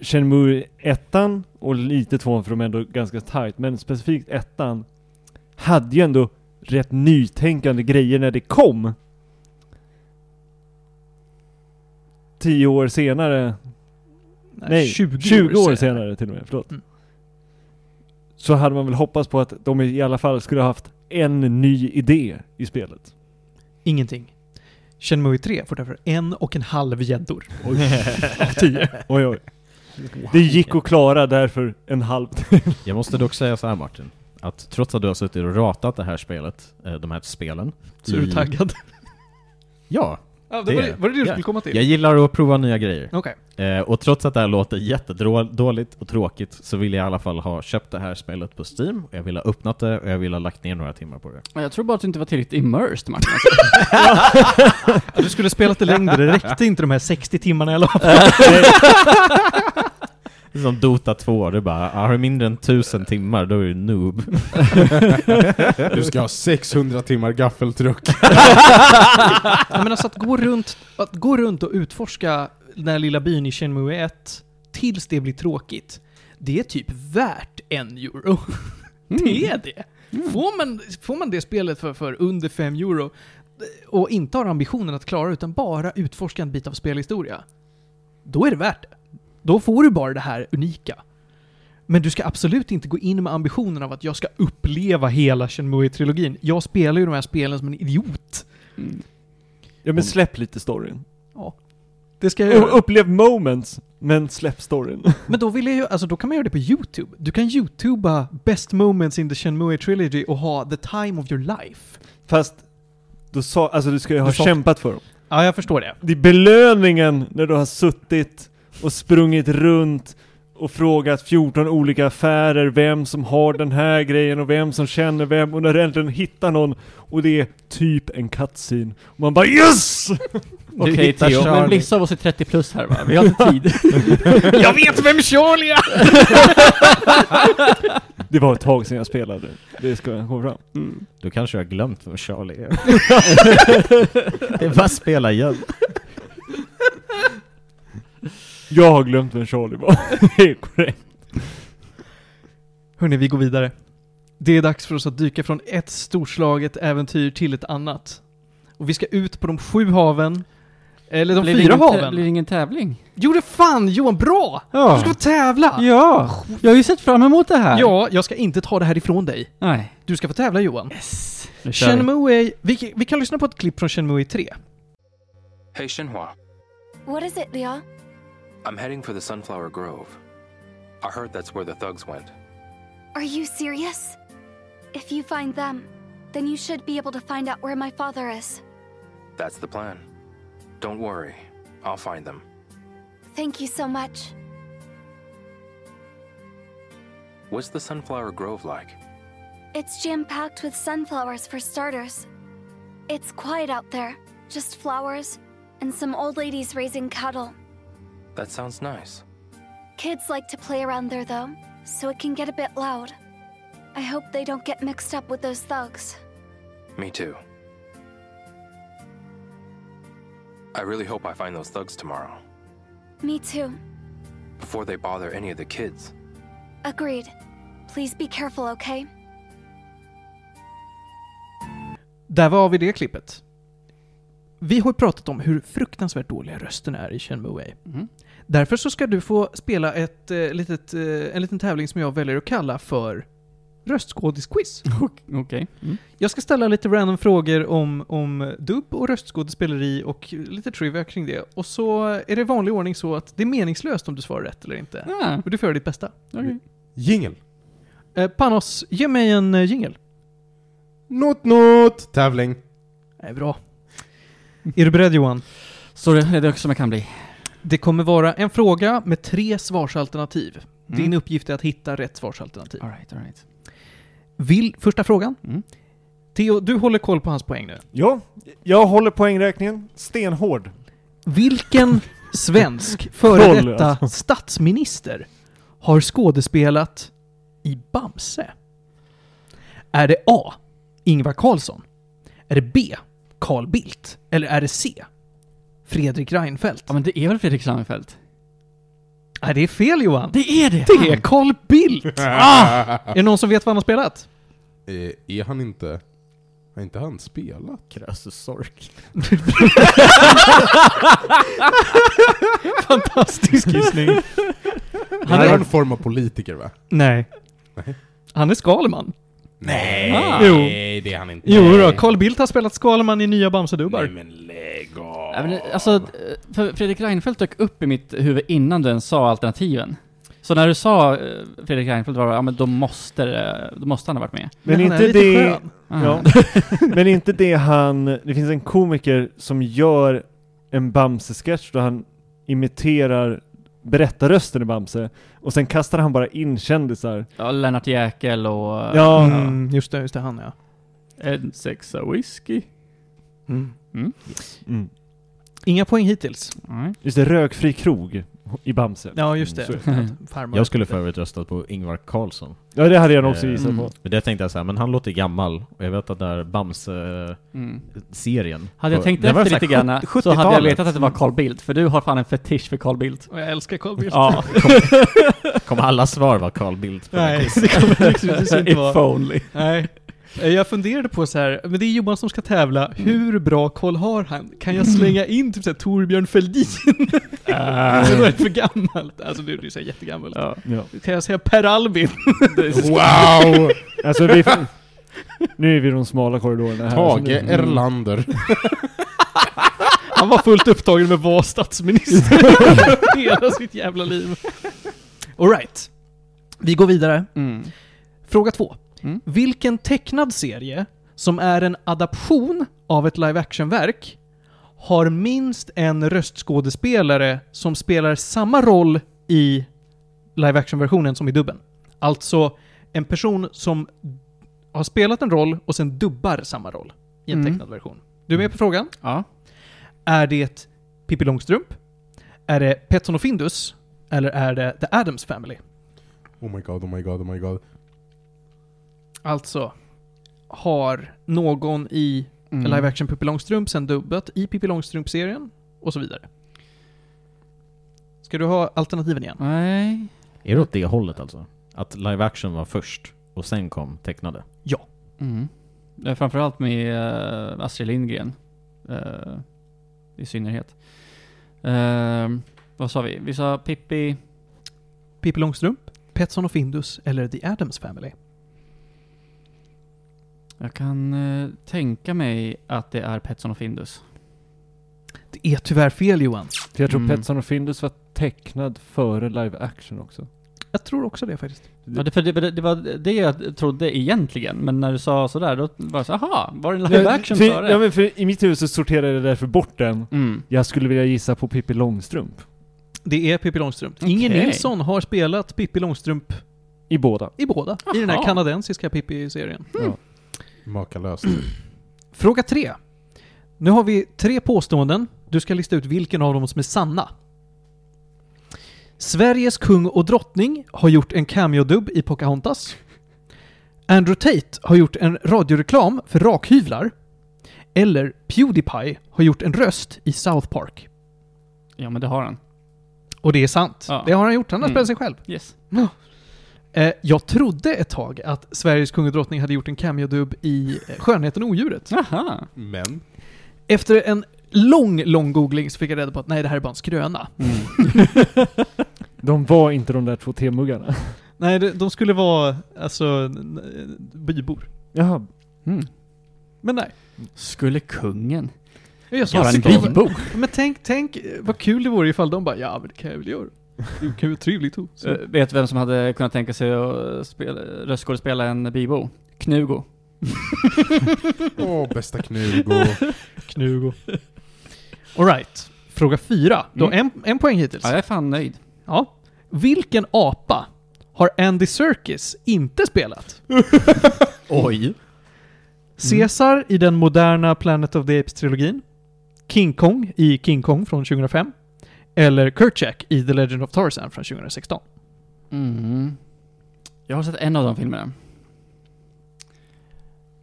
Shenmue ettan och lite tvåan för de är ändå ganska tight, men specifikt ettan hade ju ändå rätt nytänkande grejer när det kom. Tio år senare, nej 20, år, senare till och med, förlåt. Mm. Så hade man väl hoppats på att de i alla fall skulle ha haft en ny idé i spelet. Ingenting. Shenmue 3 får därför en och en halv gäddor. Typ. Oj, oj. Det gick att klara därför en halv Jag måste dock säga så här Martin. Att trots att du har suttit och ratat det här spelet, eh, de här spelen. Så är du i- taggad? Ja, Ja, det var, det, var det det du Ja. skulle komma till? Jag gillar att prova nya grejer. Okej. Eh, och trots att det här låter jättedåligt och tråkigt så vill jag i alla fall ha köpt det här spelet på Steam, och jag vill ha öppnat det och jag vill ha lagt ner några timmar på det. Jag tror bara att du inte var tillräckligt immersed Martin. Ja, du skulle spela det längre, det [LAUGHS] räckte inte de här 60 timmarna jag la på. Det är som Dota 2, det är bara ah, har du mindre än 1000 timmar då är du noob. Du ska ha 600 timmar gaffeltruck. Ja, men alltså att gå, runt, att gå runt och utforska den här lilla byn i Shenmue 1 tills det blir tråkigt, det är typ värt en euro. [LAUGHS] Det är det. Får, man, får man det spelet för, för under 5 euro och inte har ambitionen att klara utan bara utforska en bit av spelhistoria, då är det värt det. Då får du bara det här unika. Men du ska absolut inte gå in med ambitionen av att jag ska uppleva hela shenmue trilogin Jag spelar ju de här spelen som en idiot. Mm. Ja men släpp lite storyn. Det ska jag U- göra. Upplev moments, men släpp storyn. Men då vill jag ju, alltså då kan man göra det på YouTube. Du kan YouTuba best moments in the Shenmue trilogy och ha the time of your life. Fast, du sa, alltså du ska ju ha Du sa- kämpat för dem. Ja, jag förstår [LAUGHS] det. Det är belöningen när du har suttit och sprungit runt och frågat 14 olika affärer vem som har den här grejen och vem som känner vem och när du äntligen hittar någon och det är typ en cutscene. Och man bara yes! Okej hittar Theo, men Charlie. vissa av oss är 30 plus [LAUGHS] här va? Vi har inte tid. jag vet vem Charlie är! Det var ett tag sedan jag spelade. Det ska jag komma fram. Då kanske jag har glömt vem Charlie [LAUGHS] är. det är bara spela igen. Jag har glömt vem Charlie var. [LAUGHS] det är korrekt. Hörni, vi går vidare. Det är dags för oss att dyka från ett storslaget äventyr till ett annat. Och vi ska ut på de sju haven. Eller de Blir det fyra ingen tä- haven. Blir det ingen tävling? Jo, det fan Johan, bra! Du ska Ja. få tävla! ja, jag har ju sett fram emot det här. ja, jag ska inte ta det här ifrån dig. Nej. Du ska få tävla Johan. Yes. Nu kör vi. Shenmue, vi, vi kan lyssna på ett klipp från Shenmue 3. Hey Shinhua, What is it, Leah? I'm heading for the Sunflower Grove. I heard that's where the thugs went. Are you serious? If you find them, then you should be able to find out where my father is. That's the plan. Don't worry, I'll find them. Thank you so much. What's the Sunflower Grove like? It's jam packed with sunflowers for starters. It's quiet out there, just flowers and some old ladies raising cattle. That sounds nice. Kids like to play around there though, so it can get a bit loud. I hope they don't get mixed up with those thugs. Me too. I really hope I find those thugs tomorrow, Me too. before they bother any of the kids. Agreed. Please be careful, okay? [LAUGHS] Där var vi det klippet. Vi har ju pratat om hur fruktansvärt dåliga rösterna är i Shenmue. Mhm. Därför så ska du få spela ett, eh, litet, eh, en liten tävling som jag väljer att kalla för röstskådisquiz. [LAUGHS] Okej. Mm. Jag ska ställa lite random frågor om, om dubb och röstskådespeleri och lite trivia kring det. Och så är det i vanlig ordning så att det är meningslöst om du svarar rätt eller inte. Ah, Och du får göra ditt bästa. okej. Jingel. Eh, Panos, ge mig en eh, jingle. Not not. Tävling. Det är bra. Är du beredd Johan? Så det är det också som jag kan bli. Det kommer vara en fråga med tre svarsalternativ. Mm. Din uppgift är att hitta rätt svarsalternativ. Alright, alright. Vill, första frågan. Mm. Theo, du håller koll på hans poäng nu. Ja, jag håller poängräkningen stenhård. [LAUGHS] Vilken svensk före Koll, detta statsminister har skådespelat i Bamse? Är det A. Ingvar Carlsson? Är det B. Carl Bildt? Eller är det C. Fredrik Reinfeldt? Ja men det är väl Fredrik Seinfeld? Nej, det är fel Johan. Det är det! Det är Carl Bildt! Är det någon som vet vad han har spelat? Eh, är han inte... Har inte han spelat? Krösus Sork. Fantastisk gissning. Han Han är är, en form av politiker va? nej. Han är Skalman. Nej, Ah. Jo. det är han inte. Jo då, Carl Bildt har spelat Skalman i nya Bamsedubbar. men lägg av. Ja, men, alltså, eh, för Fredrik Reinfeldt dök upp i mitt huvud innan du ens sa alternativen. Så när du sa eh, Fredrik Reinfeldt var det, ja men då måste, det- då måste han ha varit med. Men han är inte lite det... skön. Ah. [LAUGHS] Ja. Men inte det han, det finns en komiker som gör en Bamse-sketch då han imiterar berättarrösten i Bamse och sen kastar han bara in kändisar. Ja, Lennart Jäkel och... eh, Ja. Mm, just det, just det, han ja. En sexa whisky. Mm. Inga poäng hittills. Mm. Just det, rökfri krog i Bamse. Ja, just det. Så- Att farmor- Jag skulle för övrigt röstat på Ingvar Carlsson. Ja, det hade jag nog också Eh, gissat mm. på. Men det tänkte jag såhär, men han låter gammal, och jag vet att där Bamse-serien... Mm. Hade jag tänkt den var efter så här lite grann sjut- så Mm. hade jag 70-talet. vetat att det var Carl Bildt, för du har fan en fetisch för Carl Bildt. Och jag älskar Carl Bildt. [LAUGHS] Ja, Kommer alla svar vara Carl Bildt? på [LAUGHS] den Nej, quizen? det [LAUGHS] kommer liksom lyckligtvis inte if vara. only. Nej. Eh, Jag funderade på så här, men det är Johan som ska tävla, hur bra koll har han? Kan jag slänga in typ så här, Torbjörn Fälldin? [LAUGHS] Det var för gammalt. Alltså nu är det ju så här jättegammalt. Ja. Ja. Kan jag säga Per Albin? Wow! Alltså, vi, nu är vi i de smala korridorerna här. Tage Mm. Erlander. Han var fullt upptagen med att vara statsminister [LAUGHS] hela sitt jävla liv. Alright. Vi går vidare. Mm. Fråga två. Mm. Vilken tecknad serie som är en adaption av ett live action-verk har minst en röstskådespelare som spelar samma roll i live action-versionen som i dubben? Alltså en person som har spelat en roll och sen dubbar samma roll i en Mm. tecknad version. Du är med på frågan? Ja. Är det Pippi Långstrump? Är det Petson och Findus? Eller är det The Addams Family? Oh my god, oh my god, oh my god. Alltså, har någon i Mm. live action Pippi Långstrump sen dubbat i Pippi Långstrump-serien? Och så vidare. Ska du ha alternativen igen? Nej. Är det åt det hållet alltså? Att live action var först, och sen kom tecknade? Mm. Det är framförallt med eh, Astrid Lindgren. eh, I synnerhet. Eh, vad sa vi? Vi sa Pippi... Pippi Långstrump, Petson och Findus eller The Addams Family? Jag kan eh, tänka mig att det är Petson och Findus. Det är tyvärr fel Johan. För jag tror Mm. Petson och Findus var tecknad före live action också. Jag tror också det faktiskt. Ja, det, för det, det, det var det jag trodde egentligen, men när du sa sådär då var det så aha, var det en live action för, före? Ja, men för i mitt huvud så sorterade jag därför bort den. Mm. Jag skulle vilja gissa på Pippi Långstrump. Det är Pippi Långstrump. Inger Okej. Nilsson har spelat Pippi Långstrump I båda. i båda. I den här Aha. kanadensiska Pippi-serien. Mm. Makalöst. Mm. Fråga tre. Nu har vi tre påståenden. Du ska lista ut vilken av dem som är sanna. Sveriges kung och drottning har gjort en cameo-dubb i Pocahontas. Andrew Tate har gjort en radioreklam för rakhyvlar. Eller Pewdiepie har gjort en röst i South Park. Ja men det har han. Och det är sant. Ja. Det har han gjort, han har Mm. spelat sig själv. Yes. Eh, jag trodde ett tag att Sveriges kung och drottning hade gjort en cameo-dubb i eh, Skönheten och odjuret. Aha. Men? Efter en lång, lång googling så fick jag reda på att nej, det här är bara en [LAUGHS] skröna. Mm. De var inte de där två temuggarna. Nej, de, de skulle vara alltså n- n- bybor. Jaha. Men nej. Mm. Skulle kungen Jag är så göra en stolt. bybo? Men tänk, tänk eh, vad kul det vore ifall de bara ja, men det kan jag väl göra. Det kan vara trevligt och så. Eh, vet du vem som hade kunnat tänka sig att spela, röstskådespela en bibo? Knugo. Åh, [LAUGHS] bästa Knugo. [LAUGHS] Knugo. Alright. Fråga fyra. Du har en, en poäng hittills. Ja, jag är fan nöjd. Ja. Vilken apa har Andy Serkis inte spelat? Oj! Caesar i den moderna Planet of the Apes-trilogin. King Kong i King Kong från 2005. Eller Kerchak i The Legend of Tarzan från 2016. Mm. Jag har sett en av de filmerna.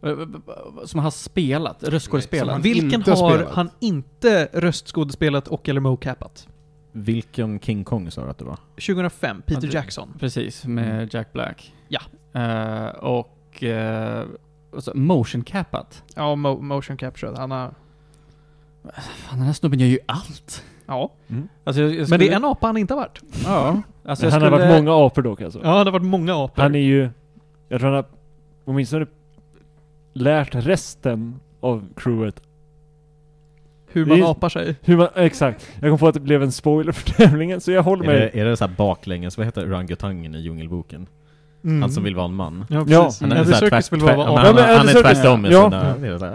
Eh, v- v- Som han har spelat, Nej, röstskådespelat. som han- Vilken inte har spelat. han inte röstskådespelat och eller mocapat? Vilken King Kong sa du att det var? 2005, Peter Ja, det- Jackson. Precis, med Jack Black. Ja. Eh, och eh, alltså, motion capat. Ja, mo motion capture. Han har... Fan, den här snubben gör ju allt. Ja. Alltså, jag, jag Men skulle- det är en apa han inte har varit. Ja. Alltså, jag han har skulle- varit många apor dock alltså. Ja, det har varit många apor. Han är ju... Jag tror han har åtminstone lärt resten av crewet Hur man det är- apar sig. hur man... Exakt. Jag kom på att det blev en spoiler för tävlingen, så jag håller Är mig. det, är det så här baklänges, vad heter orangutangen i Djungelboken? Han som vill vara en man? Mm. Ja, Ja, precis. Han är, Andy så här Serkis tvärt, vill eh, bara tvärt, vara han, apa. Ja, han, men han är Andy Serkis- tvärtom i ja. sina... Det är så här.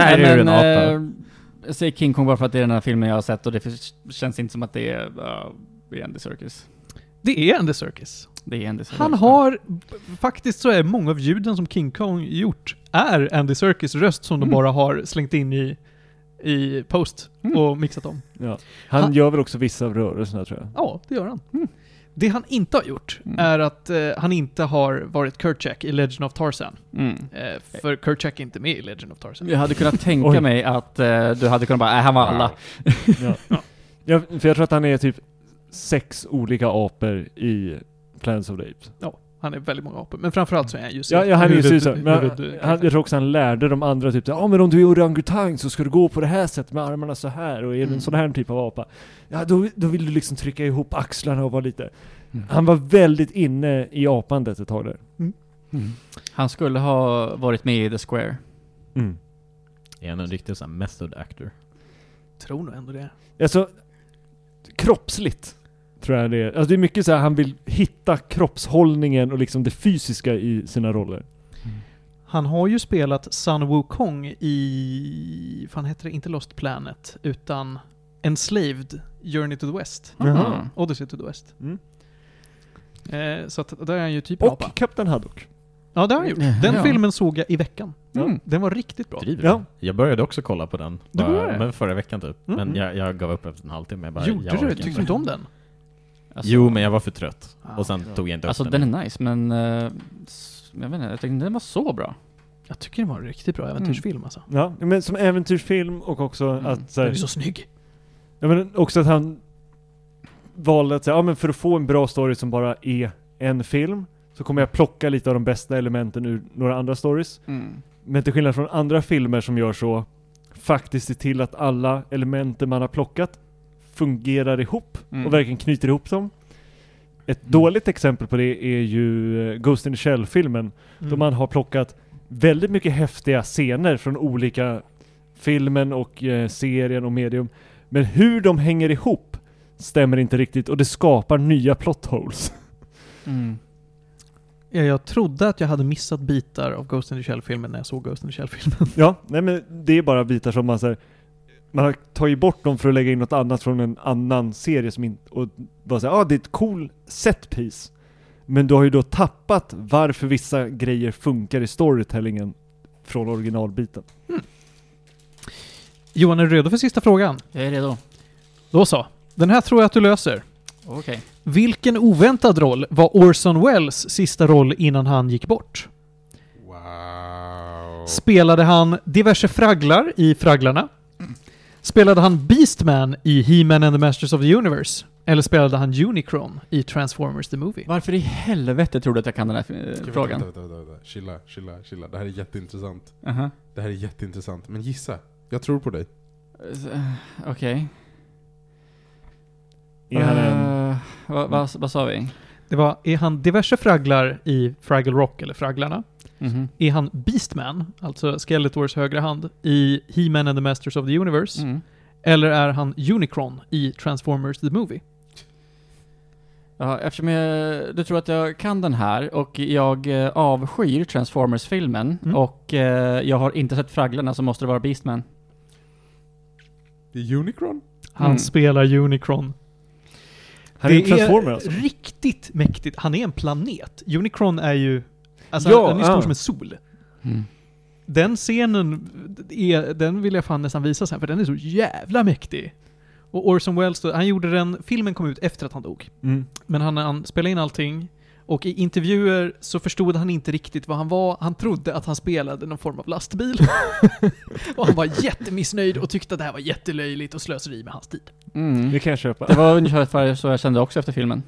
Här är du Nej, en men, apa. eh, Jag säger King Kong bara för att det är den här filmen jag har sett och det för- känns inte som att det är uh, Andy Serkis. Det är Andy Serkis. Det är Andy Serkis. Han har... Faktiskt så är många av ljuden som King Kong gjort är Andy Serkis röst som de Mm. bara har slängt in i, i post Mm. och mixat om. Ja. Han Han- gör väl också vissa av rörelserna tror jag. Ja, det gör han. Det han inte har gjort är att eh, han inte har varit Kerchak i Legend of Tarzan. Mm. Eh, för Kerchak är inte med i Legend of Tarzan. Jag hade kunnat tänka Oj. mig att eh, du hade kunnat bara, nej han var alla. Ja, för jag tror att han är typ sex olika apor i Plans of the Apes. Ja, han är väldigt många apor. Men framförallt så är han ju Ja, ja han är ju huvud- Caesar. Men han, huvud- han, jag tror också han lärde de andra typ ja ah, men om du är orangutang så ska du gå på det här sättet med armarna så här och är Mm. du en sån här typ av apa. Ja då, då vill du liksom trycka ihop axlarna och vara lite. Mm. Han var väldigt inne i apandet ett tag där. Han skulle ha varit med i The Square. Är han en riktig sån här method actor? tror nog ändå det. Alltså, kroppsligt tror jag det är. Alltså det är mycket så här, han vill hitta kroppshållningen och liksom det fysiska i sina roller. Han har ju spelat Sun Wukong i... Fan heter det? Inte Lost Planet, utan Enslaved Journey to the West. Mm. Jaha. Odyssey to the West. Mm. Eh, så att där är han ju typ en apa. Och Kapten Haddock. Ja, det har han gjort. Den Ja. filmen såg jag i veckan. Mm. Den var riktigt bra. Driver Ja. du? Jag började också kolla på den, Du bara, började? men förra veckan typ. Mm. Men jag, jag gav upp efter en halvtimme. Jag bara, Gjorde jag du? orkar Tyckte du inte om den? Alltså, Jo, men jag var för trött. Ah. Och sen tog jag inte upp Alltså den är nice, men eh, s- jag vet inte, jag tyckte inte den var så bra. Jag tycker den var en riktigt bra äventyrsfilm alltså. Ja, men som äventyrsfilm och också Mm. att så Den här, är så snygg. ja, men också att han valde att säga, ja men för att få en bra story som bara är en film så kommer jag plocka lite av de bästa elementen ur några andra stories. Men till skillnad från andra filmer som gör så, faktiskt se till att alla elementen man har plockat fungerar ihop Mm. och verkligen knyter ihop dem. Ett dåligt exempel på det är ju eh, Ghost in the Shell-filmen, då Mm. man har plockat väldigt mycket häftiga scener från olika filmen och eh, serien och medium. Men hur de hänger ihop stämmer inte riktigt och det skapar nya plot holes. Mm. Ja, jag trodde att jag hade missat bitar av Ghost in the Shell-filmen när jag såg Ghost in the Shell-filmen. [LAUGHS] [LAUGHS] Ja, nej men det är bara bitar som man säger man har tagit bort dem för att lägga in något annat från en annan serie som inte, och bara säga ja ah, det är ett cool setpiece. Men du har ju då tappat varför vissa grejer funkar i storytellingen från originalbiten. Johan, är du redo för sista frågan? Jag är redo. Då så. Den här tror jag att du löser. Okej. Vilken oväntad roll var Orson Welles sista roll innan han gick bort? Wow. Spelade han diverse fragglar i Fragglarna? Spelade han Beastman i He-Man and the Masters of the Universe? Eller spelade han Unicron i Transformers the Movie? Varför i helvete tror du att jag kan den här eh, Okej, frågan? Vänta, vänta, vänta, vänta. Chilla, chilla, chilla. Det här är jätteintressant. Aha. Det här är jätteintressant. Men gissa. Jag tror på dig. S- eh, Okej. Är han en, Eh, vad- vad- Vad sa vi? Det var, är han diverse fragglar i Fraggle Rock eller Fragglarna? Mhm. Är han Beastman, alltså Skeletors högra hand, i He-Man and the Masters of the Universe? Mm. Eller är han Unicron i Transformers the Movie? Ja, eftersom jag, du tror att jag kan den här och jag eh, avskyr Transformers-filmen Mm. och eh, jag har inte sett Fragglarna så måste det vara Beastman. Det är Unicron? Han Mm. spelar Unicron. han är en transformer alltså? riktigt mäktigt. Han är en planet. Unicron är ju... Alltså Ja, han är stor ja. som en sol. Mm. Den scenen, är, den vill jag fan nästan visa sen för den är så jävla mäktig. Och Orson Welles, då, han gjorde den, filmen kom ut efter att han dog. Mm. Men han, han spelade in allting. Och i intervjuer så förstod han inte riktigt vad han var. Han trodde att han spelade någon form av lastbil. [LAUGHS] och han var jättemissnöjd och tyckte att det här var jättelöjligt och slöseri med hans tid. Mm. Det kan jag köpa. Mm. Det var ungefär så jag kände också efter filmen.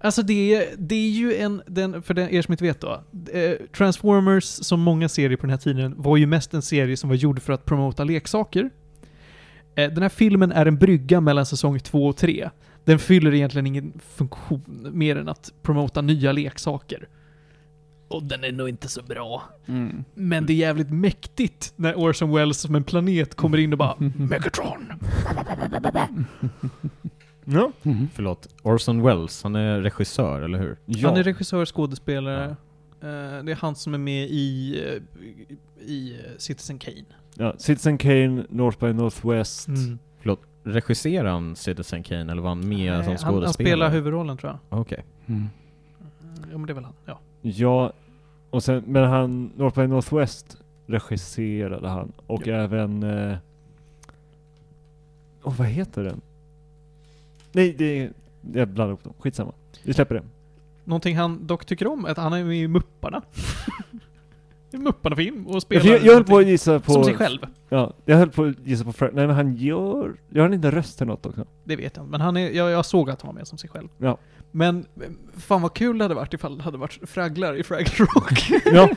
Alltså det är, det är ju en, den, för den, er som inte vet då. eh, Transformers, som många serier på den här tiden, var ju mest en serie som var gjord för att promota leksaker. Eh, Den här filmen är en brygga mellan säsong 2 och 3. Den fyller egentligen ingen funktion mer än att promota nya leksaker. Och den är nog inte så bra. Men det är jävligt mäktigt när Orson Welles som en planet kommer in och bara Mm. Megatron! Ja. Mm. Förlåt, Orson Welles, han är regissör, eller hur? Ja. Han är regissör, skådespelare. Eh, det är han som är med i, eh, i eh, Citizen Kane. Ja, Citizen Kane, North by Northwest. Mm. Förlåt, regisserar han Citizen Kane eller var han med Nej, som han, skådespelare? han spelar huvudrollen tror jag. Okej. Mm. Ja men det är väl han. Ja. Ja, och sen, men han, North by Northwest regisserade han. Och även... Eh, oh, vad heter den? Nej, det... Jag blandar ihop dem. Skitsamma. Vi släpper det. Någonting han dock tycker om är att han är med i Mupparna. [LAUGHS] I Mupparna-film och Jag, spelar jag, jag höll på att någonting gissa på... som sig själv. Ja, jag höll på att gissa på Fred. Nej men han gör... Gör han inte rösten åt också? Det vet jag inte, men han är, jag, jag såg att han var med som sig själv. Ja. Men eh, fan vad kul det hade varit ifall det hade varit fragglar i Fraggle Rock. [LAUGHS] Ja.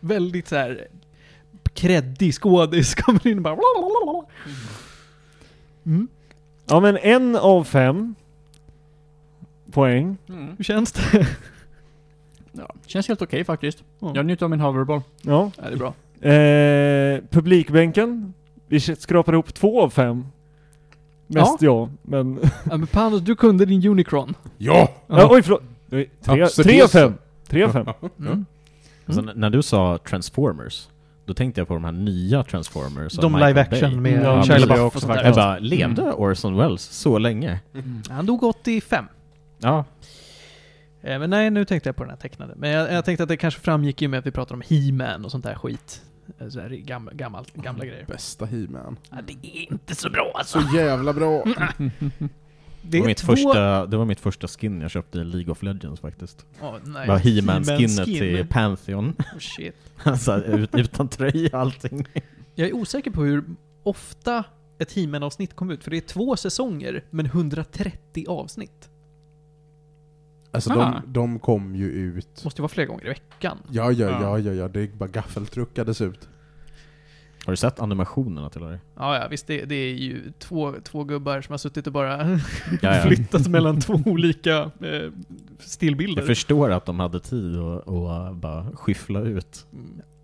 Väldigt så här kreddig skådis kommer in och bara blablabla. mm. Ja men en av fem poäng. Hur känns det? Mm. Ja, känns helt okej faktiskt. Ja. Jag njuter av min hoverboll. Ja. Ja, det är bra. Eh, publikbänken. Vi skrapar ihop två av fem. Mest jag, men... [LAUGHS] Ja, men Panos, du kunde din Unicron. Ja! Ja, [LAUGHS] oj förlåt! Oj, Tre, Absolut. tre av fem! Tre av fem. Mm. Alltså, n- när du sa Transformers, då tänkte jag på de här nya Transformers av De Michael live action Bay. med Ja, Shia precis. LaBeouf Jag och också sånt där. Jag bara, levde Mm. Orson Welles så länge? Mm. Han dog 85. Ja. Eh, Men nej, nu tänkte jag på den här tecknade. Men jag, jag tänkte att det kanske framgick ju med att vi pratade om He-Man och sånt där skit. Eh, Så här, gam, gammalt, gamla grejer. Bästa He-Man. Ja, det är inte så bra alltså. Ah. Så jävla bra! Mm. Det Det, är var mitt två- första, det var mitt första skin jag köpte i League of Legends faktiskt. Åh, nej. Det var He-Man-skinnet He-Man-skin. till Pantheon. [LAUGHS] Oh, shit. alltså, ut, utan tröja och allting. Jag är osäker på hur ofta ett He-Man-avsnitt kom ut, för det är två säsonger men 130 avsnitt. Alltså Ah. de, de kom ju ut... Måste ju vara flera gånger i veckan. Ja, ja, Ja. ja, ja, ja. Det bara gaffeltruckades ut. Har du sett animationerna till det? Ja, ja visst, det, det är ju två, två gubbar som har suttit och bara [LAUGHS] Ja, ja. flyttat mellan två olika eh, Jag stillbilder. förstår att de hade tid att att bara skyffla ut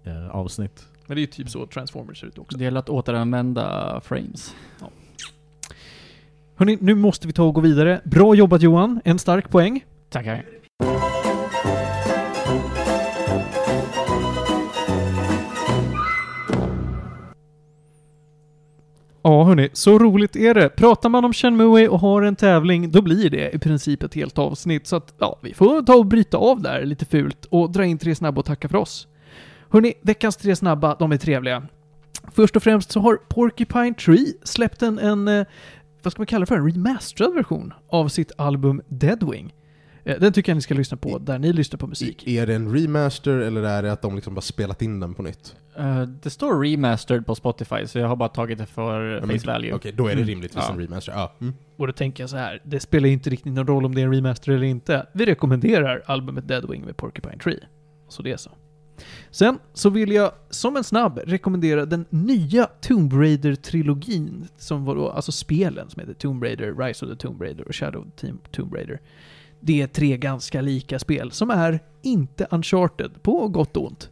eh, avsnitt. Mm. Men det är ju typ så Transformers ser ut också. Det gäller att återanvända frames. Hörni, nu måste vi ta och gå vidare. Bra jobbat Johan, en stark poäng. Tackar. Ja hörni, så roligt är det. Pratar man om Shenmue och har en tävling, då blir det i princip ett helt avsnitt. Så att, ja, vi får ta och bryta av där lite fult och dra in tre snabba och tacka för oss. Hörni, veckans tre snabba, de är trevliga. Först och främst så har Porcupine Tree släppt en, en eh, vad ska man kalla det för, en remasterad version av sitt album Deadwing. Eh, Den tycker jag ni ska lyssna på, där ni lyssnar på musik. I, är det en remaster eller är det att de liksom bara spelat in den på nytt? Eh, det står remastered på Spotify, så jag har bara tagit det för Ja, men- face value. Mm. Okej, då är det rimligtvis Ja. en remaster. Ja. Mm. Och då tänker jag så här, det spelar ju inte riktigt någon roll om det är en remaster eller inte. Vi rekommenderar albumet Deadwing med Porcupine Tree. Så det är så. Sen så vill jag som en snabb rekommendera den nya Tomb Raider-trilogin, som var då, alltså spelen som heter Tomb Raider, Rise of the Tomb Raider och Shadow of the Tomb- Tomb Raider. Det är tre ganska lika spel som är inte uncharted, på gott och [LAUGHS] ont.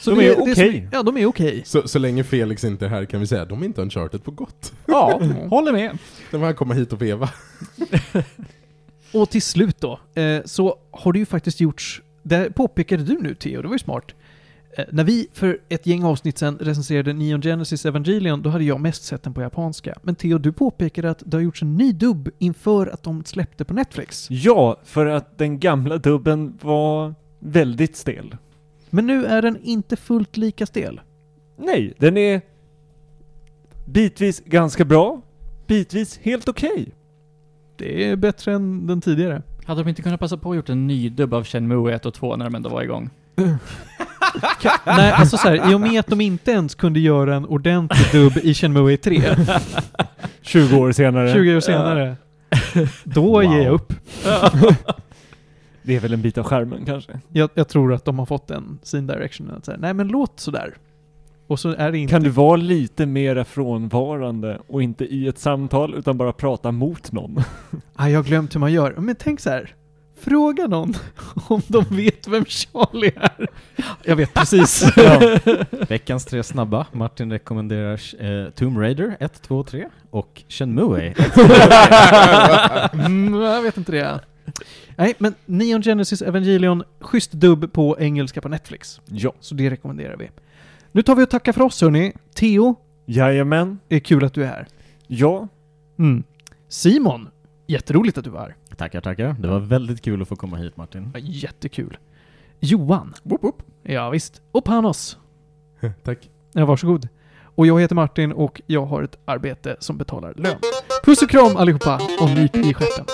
Så De det- är det som- okej. Ja, de är okej. Så, så länge Felix inte är här kan vi säga att de är inte uncharted på gott. Ja, håller med. De här kommer hit och veva. Och till slut då, eh, så har det ju faktiskt gjorts, det påpekade du nu Theo, det var ju smart. Eh, när vi för ett gäng avsnitt sen recenserade Neon Genesis Evangelion, då hade jag mest sett den på japanska. Men Theo, du påpekade att det har gjorts en ny dubb inför att de släppte på Netflix. Ja, för att den gamla dubben var väldigt stel. Men nu är den inte fullt lika stel. Nej, den är bitvis ganska bra, bitvis helt okej. Det är bättre än den tidigare. Hade de inte kunnat passa på att gjort en ny dubb av Shenmue 1 och 2 när de ändå var igång? [LAUGHS] Nej, alltså så här, i och med att de inte ens kunde göra en ordentlig dubb i Shenmue [LAUGHS] 3, 20 år senare. 20 år senare, då ger jag upp. [LAUGHS] Det är väl en bit av skärmen kanske. Jag, jag tror att de har fått en sin direction att säga, nej men låt sådär. Och så är det inte... Kan du vara lite mera frånvarande och inte i ett samtal utan bara prata mot någon? Ah, jag har glömt hur man gör. Men tänk så här. Fråga någon [LAUGHS] om de vet vem Charlie är. Jag vet precis. Veckans tre snabba. Martin rekommenderar eh, Tomb Raider 1, 2, 3 och Shenmue 1. [LAUGHS] mm, jag vet inte det. Nej, men Neon Genesis Evangelion, schysst dubb på engelska på Netflix. Ja. Så det rekommenderar vi. Nu tar vi och tackar för oss hörni. Theo, Jajamän. det är kul att du är här. Ja. Mm. Simon, jätteroligt att du var här. Tackar, tackar. Det var väldigt kul att få komma hit Martin. Ja, Jättekul. Johan. Ja, visst. Och Panos. Tack. Ja, varsågod. Och jag heter Martin och jag har ett arbete som betalar lön. Puss och kram allihopa och nyp i stjärten.